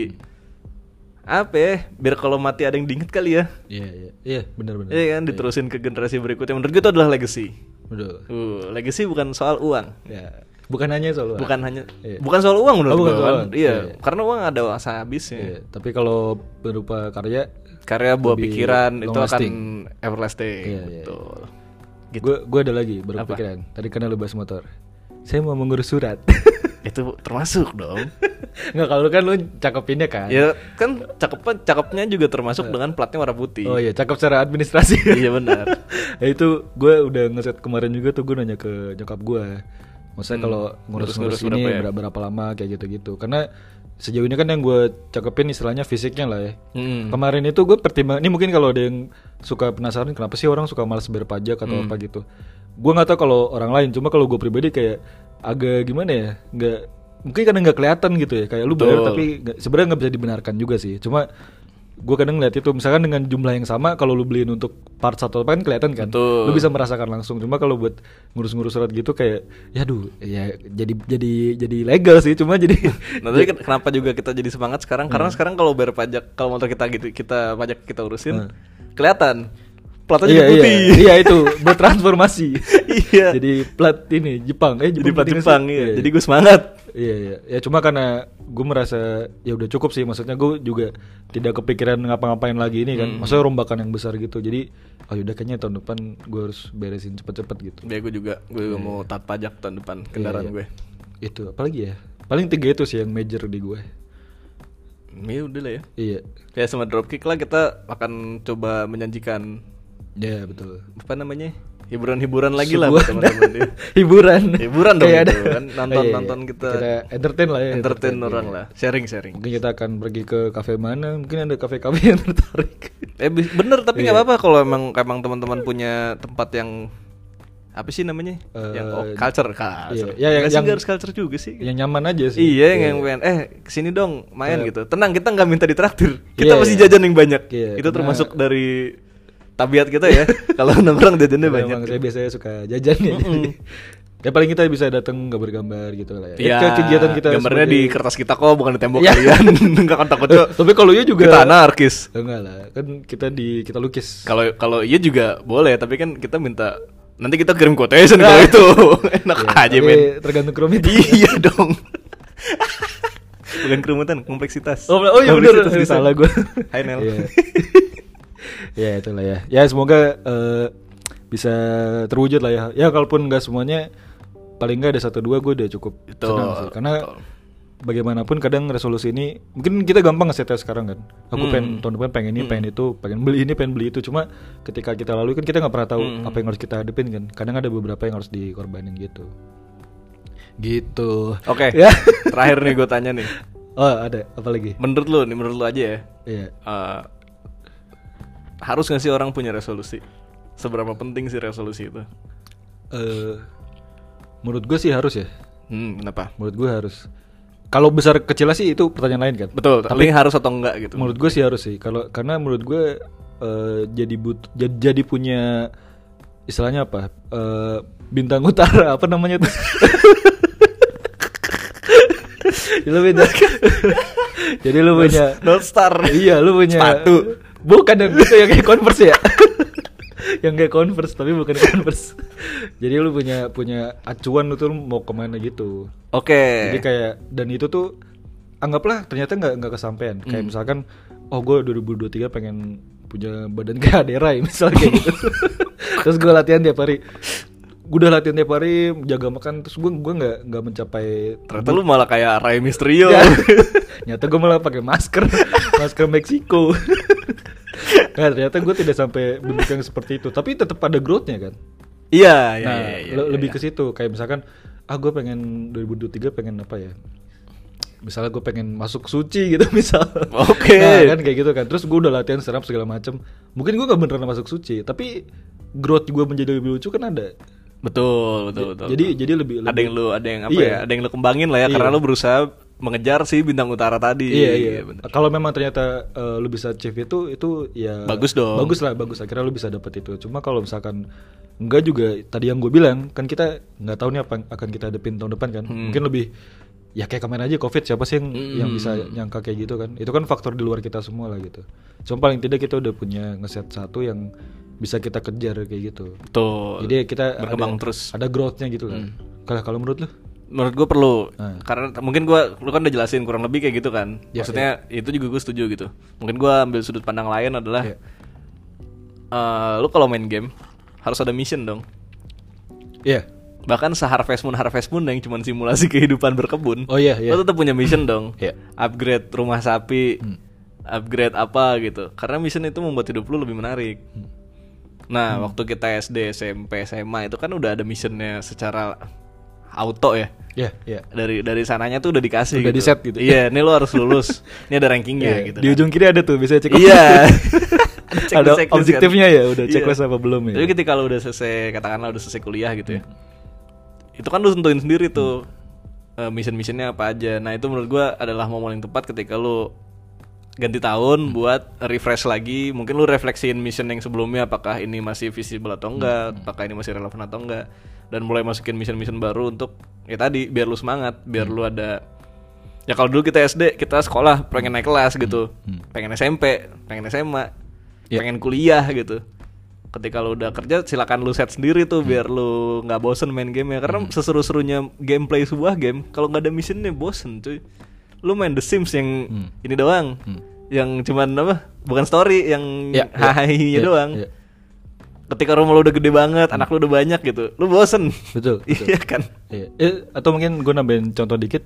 Speaker 1: apa ya? Biar kalau mati ada yang diinget kali ya.
Speaker 2: Iya, iya. Iya, benar benar.
Speaker 1: Iya kan diterusin ke generasi berikutnya. Menurut gue itu adalah legacy.
Speaker 2: Betul.
Speaker 1: Uh, legacy bukan soal uang.
Speaker 2: Ya. Bukan hanya soal
Speaker 1: Bukan hanya
Speaker 2: Iya.
Speaker 1: bukan soal uang menurut
Speaker 2: Oh, bukan
Speaker 1: gue kan.
Speaker 2: soal uang.
Speaker 1: Iya,
Speaker 2: Iya.
Speaker 1: karena uang ada masa habisnya.
Speaker 2: Iya, tapi kalau berupa karya
Speaker 1: Karya buah
Speaker 2: Lebih
Speaker 1: pikiran itu
Speaker 2: long lasting.
Speaker 1: akan everlasting.
Speaker 2: Iya, iya.
Speaker 1: Betul. Gitu.
Speaker 2: gue gue ada lagi baru kepikiran. Tadi karena lu bahas motor. Saya mau mengurus surat. [LAUGHS]
Speaker 1: Itu termasuk dong.
Speaker 2: Nggak kalau lu kan lu cakepinnya kan.
Speaker 1: ya kan cakepan cakepnya juga termasuk dengan platnya warna putih.
Speaker 2: Iya.
Speaker 1: [LAUGHS]
Speaker 2: Oh iya, cakep secara administrasi. [LAUGHS]
Speaker 1: Iya benar.
Speaker 2: ya itu gue udah ngeset kemarin juga tuh gue nanya ke nyokap gue maksudnya kalau ngurus-ngurus
Speaker 1: Hmm. ngurus-ngurus
Speaker 2: ini
Speaker 1: berapa ya?
Speaker 2: berapa, berapa lama kayak gitu-gitu karena sejauh ini kan yang gue cakepin istilahnya fisiknya lah ya
Speaker 1: Hmm.
Speaker 2: kemarin itu gue pertimbang ini mungkin kalau ada yang suka penasaran kenapa sih orang suka malas bayar pajak atau
Speaker 1: Hmm.
Speaker 2: apa gitu gue nggak tahu kalau orang lain cuma kalau gue pribadi kayak agak gimana ya nggak mungkin karena nggak kelihatan gitu ya kayak lu bayar
Speaker 1: Betul.
Speaker 2: tapi nggak- sebenarnya nggak bisa dibenarkan juga sih cuma gue kadang ngeliat itu misalkan dengan jumlah yang sama kalau lu beliin untuk part satu apa kan kelihatan kan
Speaker 1: Betul.
Speaker 2: lu bisa merasakan langsung cuma kalau buat ngurus-ngurus surat gitu kayak ya duh ya jadi jadi jadi legal sih cuma
Speaker 1: [LAUGHS]
Speaker 2: jadi Hmm.
Speaker 1: Nah, tapi ken- kenapa juga kita jadi semangat sekarang? Karena sekarang kalau bayar pajak, kalau motor kita gitu, kita pajak kita urusin, kelihatan platnya
Speaker 2: Hmm. iya,
Speaker 1: jadi
Speaker 2: iya,
Speaker 1: putih.
Speaker 2: iya itu bertransformasi
Speaker 1: [LAUGHS] Iya.
Speaker 2: jadi plat ini Jepang eh
Speaker 1: jadi
Speaker 2: Jepang
Speaker 1: plat
Speaker 2: bukan sih?
Speaker 1: Jepang ya. Jadi gue semangat.
Speaker 2: Iya iya ya cuma karena gue merasa ya udah cukup sih maksudnya gue juga tidak kepikiran ngapa-ngapain lagi ini kan
Speaker 1: Hmm.
Speaker 2: maksudnya rombakan yang besar gitu jadi oh yaudah kayaknya tahun depan gue harus beresin cepet-cepet gitu
Speaker 1: Ya gue juga, gue juga mau tat pajak tahun
Speaker 2: Iya,
Speaker 1: depan kendaraan gue.
Speaker 2: itu apalagi ya paling tiga itu sih yang major di gue
Speaker 1: Ya udah lah ya.
Speaker 2: iya
Speaker 1: Ya sama dropkick lah kita akan coba menjanjikan
Speaker 2: ya betul
Speaker 1: apa namanya hiburan-hiburan lagi lah buat
Speaker 2: Sebuah- [LAUGHS] Iya,
Speaker 1: teman-teman dia.
Speaker 2: hiburan
Speaker 1: Hiburan dong
Speaker 2: Kayak
Speaker 1: itu
Speaker 2: ada-
Speaker 1: kan, nonton-
Speaker 2: Oh, iya, iya.
Speaker 1: nonton kita
Speaker 2: entertain lah ya
Speaker 1: Entertain
Speaker 2: iya.
Speaker 1: orang lah, sharing-sharing.
Speaker 2: mungkin kita akan pergi ke kafe mana mungkin ada kafe-kafe yang [LAUGHS] tertarik Iya.
Speaker 1: Eh bi- bener tapi nggak apa-apa kalau emang emang teman-teman punya tempat yang apa sih namanya?
Speaker 2: Eh,
Speaker 1: yang oh, culture, culture.
Speaker 2: iya, yang-
Speaker 1: Nggak sih,
Speaker 2: yang-
Speaker 1: nggak harus culture juga sih.
Speaker 2: yang nyaman aja sih
Speaker 1: Iya, yang yang pengen eh kesini dong main
Speaker 2: Iya.
Speaker 1: gitu. Tenang, kita nggak minta ditraktir. Kita
Speaker 2: Iya,
Speaker 1: pasti
Speaker 2: iya.
Speaker 1: jajan yang banyak.
Speaker 2: Iya,
Speaker 1: Itu
Speaker 2: karena-
Speaker 1: termasuk dari tabiat kita
Speaker 2: [LAUGHS]
Speaker 1: ya. Kalau nongkrong jajannya
Speaker 2: Karena
Speaker 1: banyak.
Speaker 2: emang saya biasanya suka jajan ya jadi [LAUGHS] ya paling kita bisa datang gambar-gambar gitu lah ya,
Speaker 1: Iya,
Speaker 2: Ke kegiatan kita
Speaker 1: gambarnya di
Speaker 2: sebagai-
Speaker 1: kertas kita kok, bukan di tembok
Speaker 2: Iya. [LAUGHS]
Speaker 1: kalian. Enggak kan takutnya
Speaker 2: Eh, tapi kalau iya juga
Speaker 1: kita anarkis.
Speaker 2: enggak lah kan kita di kita lukis
Speaker 1: Kalau kalau iya juga boleh, tapi kan kita minta nanti kita kirim quotation kalau
Speaker 2: [LAUGHS]
Speaker 1: itu. Enak
Speaker 2: Iya,
Speaker 1: [LAUGHS] aja,
Speaker 2: tapi
Speaker 1: men.
Speaker 2: tergantung
Speaker 1: [LAUGHS]
Speaker 2: kerumitan
Speaker 1: iya dong. bukan kerumutan, kompleksitas.
Speaker 2: Oh, oh iya bener
Speaker 1: Kompleksitas di sana.
Speaker 2: [LAUGHS] Salah gue
Speaker 1: Hai Nel.
Speaker 2: Iya. [LAUGHS] Ya itulah ya Ya semoga eh, Bisa terwujud lah ya Ya kalaupun nggak semuanya Paling nggak ada satu dua gue udah cukup
Speaker 1: Betul,
Speaker 2: senang sih. Karena
Speaker 1: betul.
Speaker 2: Bagaimanapun kadang resolusi ini Mungkin kita gampang ngesetnya sekarang kan Aku
Speaker 1: Hmm.
Speaker 2: pengen tahun depan pengen ini pengen itu Pengen beli ini pengen beli itu Cuma ketika kita lalui kan kita nggak pernah tahu
Speaker 1: Hmm.
Speaker 2: Apa yang harus kita hadepin kan Kadang ada beberapa yang harus dikorbanin gitu Gitu
Speaker 1: Oke.
Speaker 2: Ya. [LAUGHS]
Speaker 1: Terakhir nih gue tanya nih.
Speaker 2: Oh ada apa lagi?
Speaker 1: Menurut lu nih, menurut lu aja ya.
Speaker 2: Iya.
Speaker 1: eh, harus nggak sih orang punya resolusi? Seberapa penting sih resolusi itu?
Speaker 2: Eh, menurut gue sih harus ya.
Speaker 1: Hmm, kenapa?
Speaker 2: Menurut gue harus. Kalau besar kecilnya sih itu pertanyaan lain kan.
Speaker 1: Betul, tapi, harus atau enggak gitu.
Speaker 2: Menurut gue sih harus sih. Kalau karena menurut gue eh, jadi but jadi, jadi punya istilahnya apa? Eh, bintang utara apa namanya tuh? [LAUGHS] jadi lu punya. jadi lu punya.
Speaker 1: North Star.
Speaker 2: iya lu punya.
Speaker 1: Sepatu.
Speaker 2: Bukan yang itu yang kayak converse ya. [LAUGHS] yang kayak converse tapi bukan converse. jadi lu punya punya acuan lu tuh mau kemana gitu.
Speaker 1: Oke.
Speaker 2: Jadi kayak dan itu tuh anggaplah ternyata nggak nggak kesampaian.
Speaker 1: Hmm.
Speaker 2: Kayak misalkan oh gue 2023 pengen punya badan kayak [LAUGHS] Aderai misalnya kayak gitu. terus gue latihan tiap hari. Gue udah latihan tiap hari jaga makan terus gue gue nggak nggak mencapai
Speaker 1: Ternyata lu malah kayak Ray Mysterio.
Speaker 2: Ya. [LAUGHS] Nyata gue malah pakai masker, [LAUGHS] masker Meksiko. [LAUGHS] nah, ternyata gue tidak sampai bentuk yang seperti itu, tapi tetap ada growth-nya kan
Speaker 1: [LAUGHS] Iya, iya,
Speaker 2: nah,
Speaker 1: iya, iya,
Speaker 2: le-
Speaker 1: iya,
Speaker 2: lebih
Speaker 1: iya.
Speaker 2: ke situ kayak misalkan ah gue pengen 2023 pengen apa ya misalnya gue pengen masuk suci [LAUGHS] gitu misal
Speaker 1: Oke.
Speaker 2: nah, kan kayak gitu kan terus gue udah latihan serap segala macem mungkin gue gak beneran masuk suci tapi growth gue menjadi lebih lucu kan ada
Speaker 1: Betul, betul, betul.
Speaker 2: jadi
Speaker 1: betul.
Speaker 2: jadi lebih,
Speaker 1: ada
Speaker 2: lebih-
Speaker 1: yang lu ada yang apa
Speaker 2: Iya.
Speaker 1: ya? Ada yang lu kembangin lah ya
Speaker 2: Iya.
Speaker 1: karena lu berusaha mengejar si bintang utara tadi.
Speaker 2: Iya iya.
Speaker 1: bener.
Speaker 2: Kalau memang ternyata eh, lu bisa achieve itu itu ya
Speaker 1: Bagus dong.
Speaker 2: Bagus lah, bagus. Akhirnya lu bisa dapat itu. Cuma kalau misalkan enggak juga tadi yang gue bilang kan kita nggak tahu nih apa yang akan kita hadapin tahun depan
Speaker 1: Hmm.
Speaker 2: kan. Mungkin lebih ya kayak kemarin aja covid siapa sih yang yang bisa nyangka kayak gitu kan. Itu kan faktor di luar kita semua lah gitu. Cuma paling tidak kita udah punya ngeset satu yang bisa kita kejar kayak gitu.
Speaker 1: Betul.
Speaker 2: Jadi kita ada-
Speaker 1: Oh, berkembang terus. Hmm.
Speaker 2: Ada growth-nya gitu lah. Kalau kalau menurut lu?
Speaker 1: Menurut gue perlu
Speaker 2: Nah.
Speaker 1: karena t- mungkin gua lu kan udah jelasin kurang lebih kayak gitu kan.
Speaker 2: Ya,
Speaker 1: Maksudnya itu juga gue setuju gitu. Mungkin gua ambil sudut pandang lain adalah
Speaker 2: Iya.
Speaker 1: eh, lu kalau main game harus ada mission dong.
Speaker 2: Iya.
Speaker 1: Bahkan seharvest moon harvest moon yang cuman simulasi [LAUGHS] kehidupan berkebun.
Speaker 2: Oh iya iya.
Speaker 1: Lo tetap punya mission dong.
Speaker 2: Iya. Hmm.
Speaker 1: Upgrade rumah sapi, upgrade apa gitu. Karena mission itu membuat hidup lu lebih menarik.
Speaker 2: Hmm.
Speaker 1: Nah, waktu kita SD, SMP, SMA itu kan udah ada missionnya secara auto ya.
Speaker 2: Iya iya.
Speaker 1: Dari dari sananya tuh udah dikasih
Speaker 2: Udah
Speaker 1: gitu.
Speaker 2: di-set gitu.
Speaker 1: Iya, ini lo harus lulus.
Speaker 2: [LAUGHS]
Speaker 1: ini ada rankingnya
Speaker 2: Iya,
Speaker 1: gitu.
Speaker 2: Di
Speaker 1: kan.
Speaker 2: ujung kiri ada tuh biasanya cek
Speaker 1: [LAUGHS]
Speaker 2: [LAUGHS]
Speaker 1: Iya.
Speaker 2: Ada
Speaker 1: checklist- checklist
Speaker 2: objektifnya ya, udah
Speaker 1: Iya.
Speaker 2: checklist apa belum ya.
Speaker 1: Tapi ketika lo udah selesai katakanlah udah selesai kuliah gitu ya.
Speaker 2: Hmm.
Speaker 1: Itu kan lo tentuin sendiri tuh eh, mission-missionnya apa aja. Nah, itu menurut gua adalah momen yang tepat ketika lo ganti
Speaker 2: Hmm.
Speaker 1: tahun buat refresh lagi, mungkin lu refleksiin mission yang sebelumnya apakah ini masih visible atau enggak,
Speaker 2: Hmm.
Speaker 1: apakah ini masih relevan atau enggak dan mulai masukin mission-mission baru untuk ya tadi biar lu semangat, biar
Speaker 2: Hmm.
Speaker 1: lu ada Ya kalau dulu kita SD, kita sekolah pengen naik kelas gitu.
Speaker 2: Hmm.
Speaker 1: Pengen SMP, pengen SMA,
Speaker 2: Ya.
Speaker 1: pengen kuliah gitu. Ketika lu udah kerja silakan lu set sendiri
Speaker 2: Hmm.
Speaker 1: tuh biar lu nggak bosen main game ya. Karena seseru-serunya gameplay sebuah game kalau nggak ada missionnya bosen cuy. Lu main The Sims yang
Speaker 2: Hmm.
Speaker 1: ini doang. Yang cuman apa? Bukan story yang
Speaker 2: Ya, ya,
Speaker 1: hahaha
Speaker 2: ya,
Speaker 1: doang.
Speaker 2: ya.
Speaker 1: Ketika rumah lu udah gede banget, anak lu udah banyak gitu. Lu bosen.
Speaker 2: Betul, betul.
Speaker 1: [LAUGHS] Iya kan?
Speaker 2: Iya. Eh, atau mungkin gue nambahin contoh dikit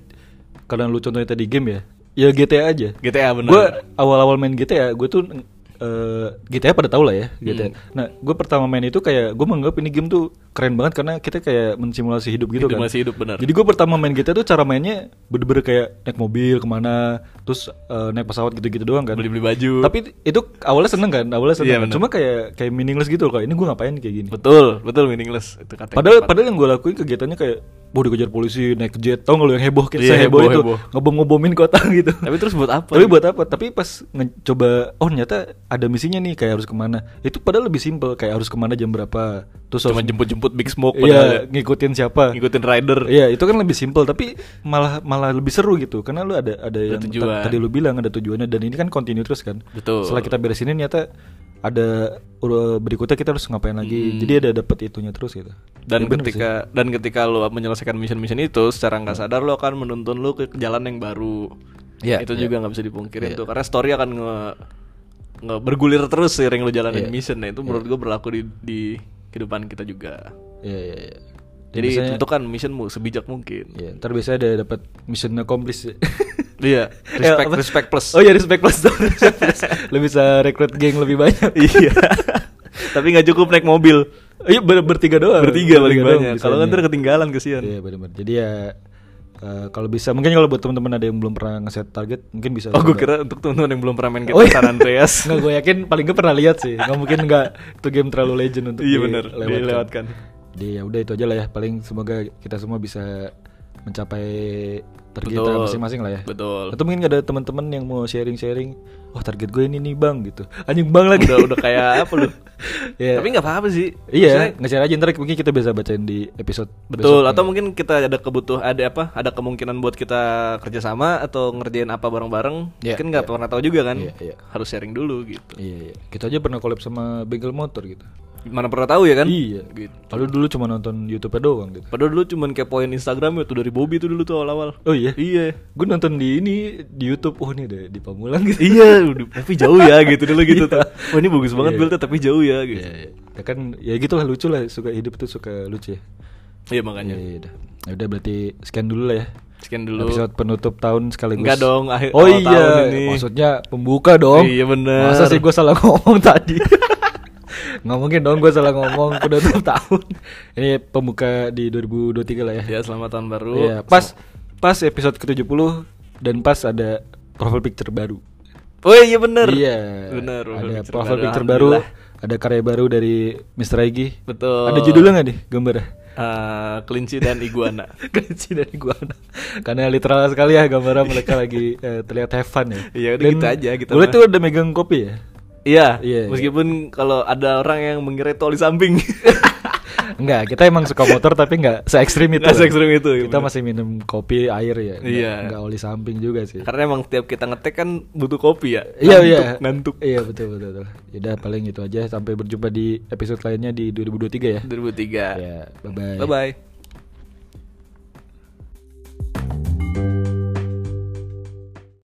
Speaker 2: karena lu contohnya tadi game ya. Ya GTA aja.
Speaker 1: GTA benar.
Speaker 2: Gue awal-awal main GTA, gue tuh
Speaker 1: Hmm.
Speaker 2: eh, GTA pada tau lah ya GTA. Nah, gue pertama main itu kayak gue menganggap ini game tuh keren banget karena kita kayak mensimulasi hidup gitu kan.
Speaker 1: Simulasi hidup, benar.
Speaker 2: Jadi gue pertama main GTA tuh cara mainnya bener-bener kayak naik mobil kemana, terus eh, naik pesawat gitu-gitu doang kan.
Speaker 1: Beli-beli baju.
Speaker 2: Tapi itu awalnya seneng kan, awalnya seneng.
Speaker 1: Iya,
Speaker 2: kan.
Speaker 1: bener.
Speaker 2: Cuma kayak kayak meaningless gitu loh. Kayak ini gue ngapain kayak gini?
Speaker 1: betul, betul meaningless itu kata. yang
Speaker 2: Padahal
Speaker 1: tepat.
Speaker 2: padahal yang gue lakuin kegiatannya kayak Wah dikejar polisi, naik jet, tau gak lo yang heboh kita
Speaker 1: Iya,
Speaker 2: heboh,
Speaker 1: heboh,
Speaker 2: itu
Speaker 1: heboh.
Speaker 2: Ngebom-ngebomin kota [LAUGHS] gitu
Speaker 1: tapi terus buat apa?
Speaker 2: Tapi buat apa? Tapi pas ngecoba, oh ternyata ada misinya nih kayak harus kemana Itu padahal lebih simpel, kayak harus kemana jam berapa Terus
Speaker 1: cuma
Speaker 2: harus
Speaker 1: jemput-jemput Big Smoke padahal ya.
Speaker 2: Iya, ngikutin siapa
Speaker 1: ngikutin rider.
Speaker 2: Iya, itu kan lebih simpel tapi malah malah lebih seru gitu karena lu ada ada yang ta-
Speaker 1: tujuan.
Speaker 2: tadi lu bilang ada tujuannya dan ini kan continue terus kan.
Speaker 1: Betul.
Speaker 2: Setelah kita beres ini ternyata ada ur- berikutnya kita harus ngapain lagi.
Speaker 1: Hmm.
Speaker 2: Jadi ada dapat itunya terus gitu.
Speaker 1: Dan
Speaker 2: Ya bener sih.
Speaker 1: ketika dan ketika lo menyelesaikan mission-mission itu secara nggak sadar lo akan menuntun lo ke jalan yang baru.
Speaker 2: Iya,
Speaker 1: itu
Speaker 2: iya.
Speaker 1: juga nggak bisa dipungkirin
Speaker 2: Iya.
Speaker 1: tuh karena story akan nge, nge- bergulir terus seiring lo jalanin
Speaker 2: Iya.
Speaker 1: mission. Nah, itu menurut gue berlaku di di kehidupan kita juga.
Speaker 2: Iya iya iya. Dan
Speaker 1: Jadi
Speaker 2: biasanya-
Speaker 1: tentukan missionmu sebijak mungkin.
Speaker 2: Iya, ntar biasanya ada dapat mission accomplished.
Speaker 1: Iya,
Speaker 2: Eh,
Speaker 1: respect
Speaker 2: apa?
Speaker 1: respect [LAUGHS] plus.
Speaker 2: Oh iya respect plus. Respect plus. Lu bisa rekrut geng lebih banyak.
Speaker 1: [LAUGHS] iya. Tapi nggak cukup naik mobil.
Speaker 2: Iya ber- bertiga doang.
Speaker 1: Bertiga paling
Speaker 2: doang
Speaker 1: banyak. Kalau kan
Speaker 2: bisanya.
Speaker 1: ntar ketinggalan kesian.
Speaker 2: Iya benar-benar. Jadi ya eh, kalau bisa mungkin kalau buat teman-teman ada yang belum pernah ngeset target mungkin bisa.
Speaker 1: Oh, gue
Speaker 2: coba.
Speaker 1: kira untuk teman-teman yang belum pernah main
Speaker 2: Oh,
Speaker 1: kita
Speaker 2: iya.
Speaker 1: Gitu, San Andreas.
Speaker 2: [LAUGHS] Nggak gue yakin paling gue pernah lihat sih. Nggak mungkin nggak itu game terlalu legend untuk
Speaker 1: Iya, bener.
Speaker 2: dilewatkan.
Speaker 1: Dilewatkan.
Speaker 2: Jadi ya udah itu aja lah ya. Paling semoga kita semua bisa mencapai target kita
Speaker 1: Betul.
Speaker 2: masing-masing lah ya.
Speaker 1: Betul.
Speaker 2: Atau mungkin ada teman-teman yang mau sharing-sharing. Wah target gue ini nih bang gitu. Anjing bang lagi.
Speaker 1: udah udah kayak apa lu?
Speaker 2: Iya.
Speaker 1: Tapi nggak apa-apa sih.
Speaker 2: [LAUGHS] Iya,
Speaker 1: Maksudnya,
Speaker 2: nge-share aja ntar mungkin kita bisa bacain di episode
Speaker 1: Betul,
Speaker 2: besoknya.
Speaker 1: atau mungkin kita ada kebutuh ada apa? Ada kemungkinan buat kita kerjasama atau ngerjain apa bareng-bareng?
Speaker 2: Iya,
Speaker 1: mungkin nggak pernah tahu juga kan?
Speaker 2: Iya, iya.
Speaker 1: Harus sharing dulu gitu.
Speaker 2: Iya, iya. Kita aja pernah collab sama Bengkel Motor gitu.
Speaker 1: Mana pernah tahu ya kan?
Speaker 2: Iya.
Speaker 1: Gitu.
Speaker 2: Padahal dulu cuma nonton YouTube-nya doang gitu.
Speaker 1: Padahal dulu cuman kepoin Instagram itu dari Bobby tuh dulu tuh awal-awal.
Speaker 2: Oh iya. [LAUGHS]
Speaker 1: Iya.
Speaker 2: Gue nonton di ini di YouTube. Oh, ini ada di Pamulang gitu.
Speaker 1: iya, udah, tapi jauh ya gitu dulu gitu tuh. Wah, ini bagus banget
Speaker 2: Iya.
Speaker 1: build tapi jauh ya gitu.
Speaker 2: Iya, iya. Ya kan ya gitu lah lucu lah suka hidup tuh suka lucu ya.
Speaker 1: Iya makanya.
Speaker 2: Iya, iya, udah. Ya udah berarti sekian dulu lah ya.
Speaker 1: Sekian dulu.
Speaker 2: Episode penutup tahun sekaligus.
Speaker 1: Enggak dong, akhir-
Speaker 2: Oh
Speaker 1: awal
Speaker 2: iya.
Speaker 1: tahun ini.
Speaker 2: Maksudnya pembuka dong.
Speaker 1: Iya, bener.
Speaker 2: Masa sih gue salah ngomong [LAUGHS] tadi. Nggak mungkin dong gue salah ngomong penutup [LAUGHS] tahun. Ini pembuka di 2023 lah ya.
Speaker 1: Ya, selamat tahun baru.
Speaker 2: Iya, pas pas episode ke-70 dan pas ada profile picture baru.
Speaker 1: Oh iya bener.
Speaker 2: Iya.
Speaker 1: Bener.
Speaker 2: Ada profile picture baru, ada karya baru dari Mr. Aigi.
Speaker 1: Betul.
Speaker 2: Ada judulnya nggak nih gambarnya?
Speaker 1: Eh, kelinci dan iguana.
Speaker 2: [LAUGHS] Kelinci dari iguana. Karena literal sekali ya gambarnya mereka
Speaker 1: [LAUGHS]
Speaker 2: lagi eh, terlihat have fun ya.
Speaker 1: Iya, udah gitu aja, kita
Speaker 2: Gue
Speaker 1: mah.
Speaker 2: tuh udah megang kopi ya.
Speaker 1: Iya.
Speaker 2: Iya,
Speaker 1: Meskipun kalau ada orang yang mengira itu oli
Speaker 2: [LAUGHS]
Speaker 1: samping.
Speaker 2: Enggak, kita emang suka motor tapi nggak se ekstrim itu.
Speaker 1: Nggak
Speaker 2: lah.
Speaker 1: se-ekstrim itu, iya
Speaker 2: Kita
Speaker 1: bener.
Speaker 2: masih minum kopi air ya. Nggak-
Speaker 1: Iya.
Speaker 2: Nggak oli samping juga sih.
Speaker 1: Karena emang tiap kita ngetek kan butuh kopi ya.
Speaker 2: Iya iya
Speaker 1: Ngantuk.
Speaker 2: Iya betul betul betul. Yaudah paling gitu itu aja sampai berjumpa di episode lainnya di 2023 ya.
Speaker 1: ngantuk. 2003.
Speaker 2: Ya, bye bye.
Speaker 1: Bye bye.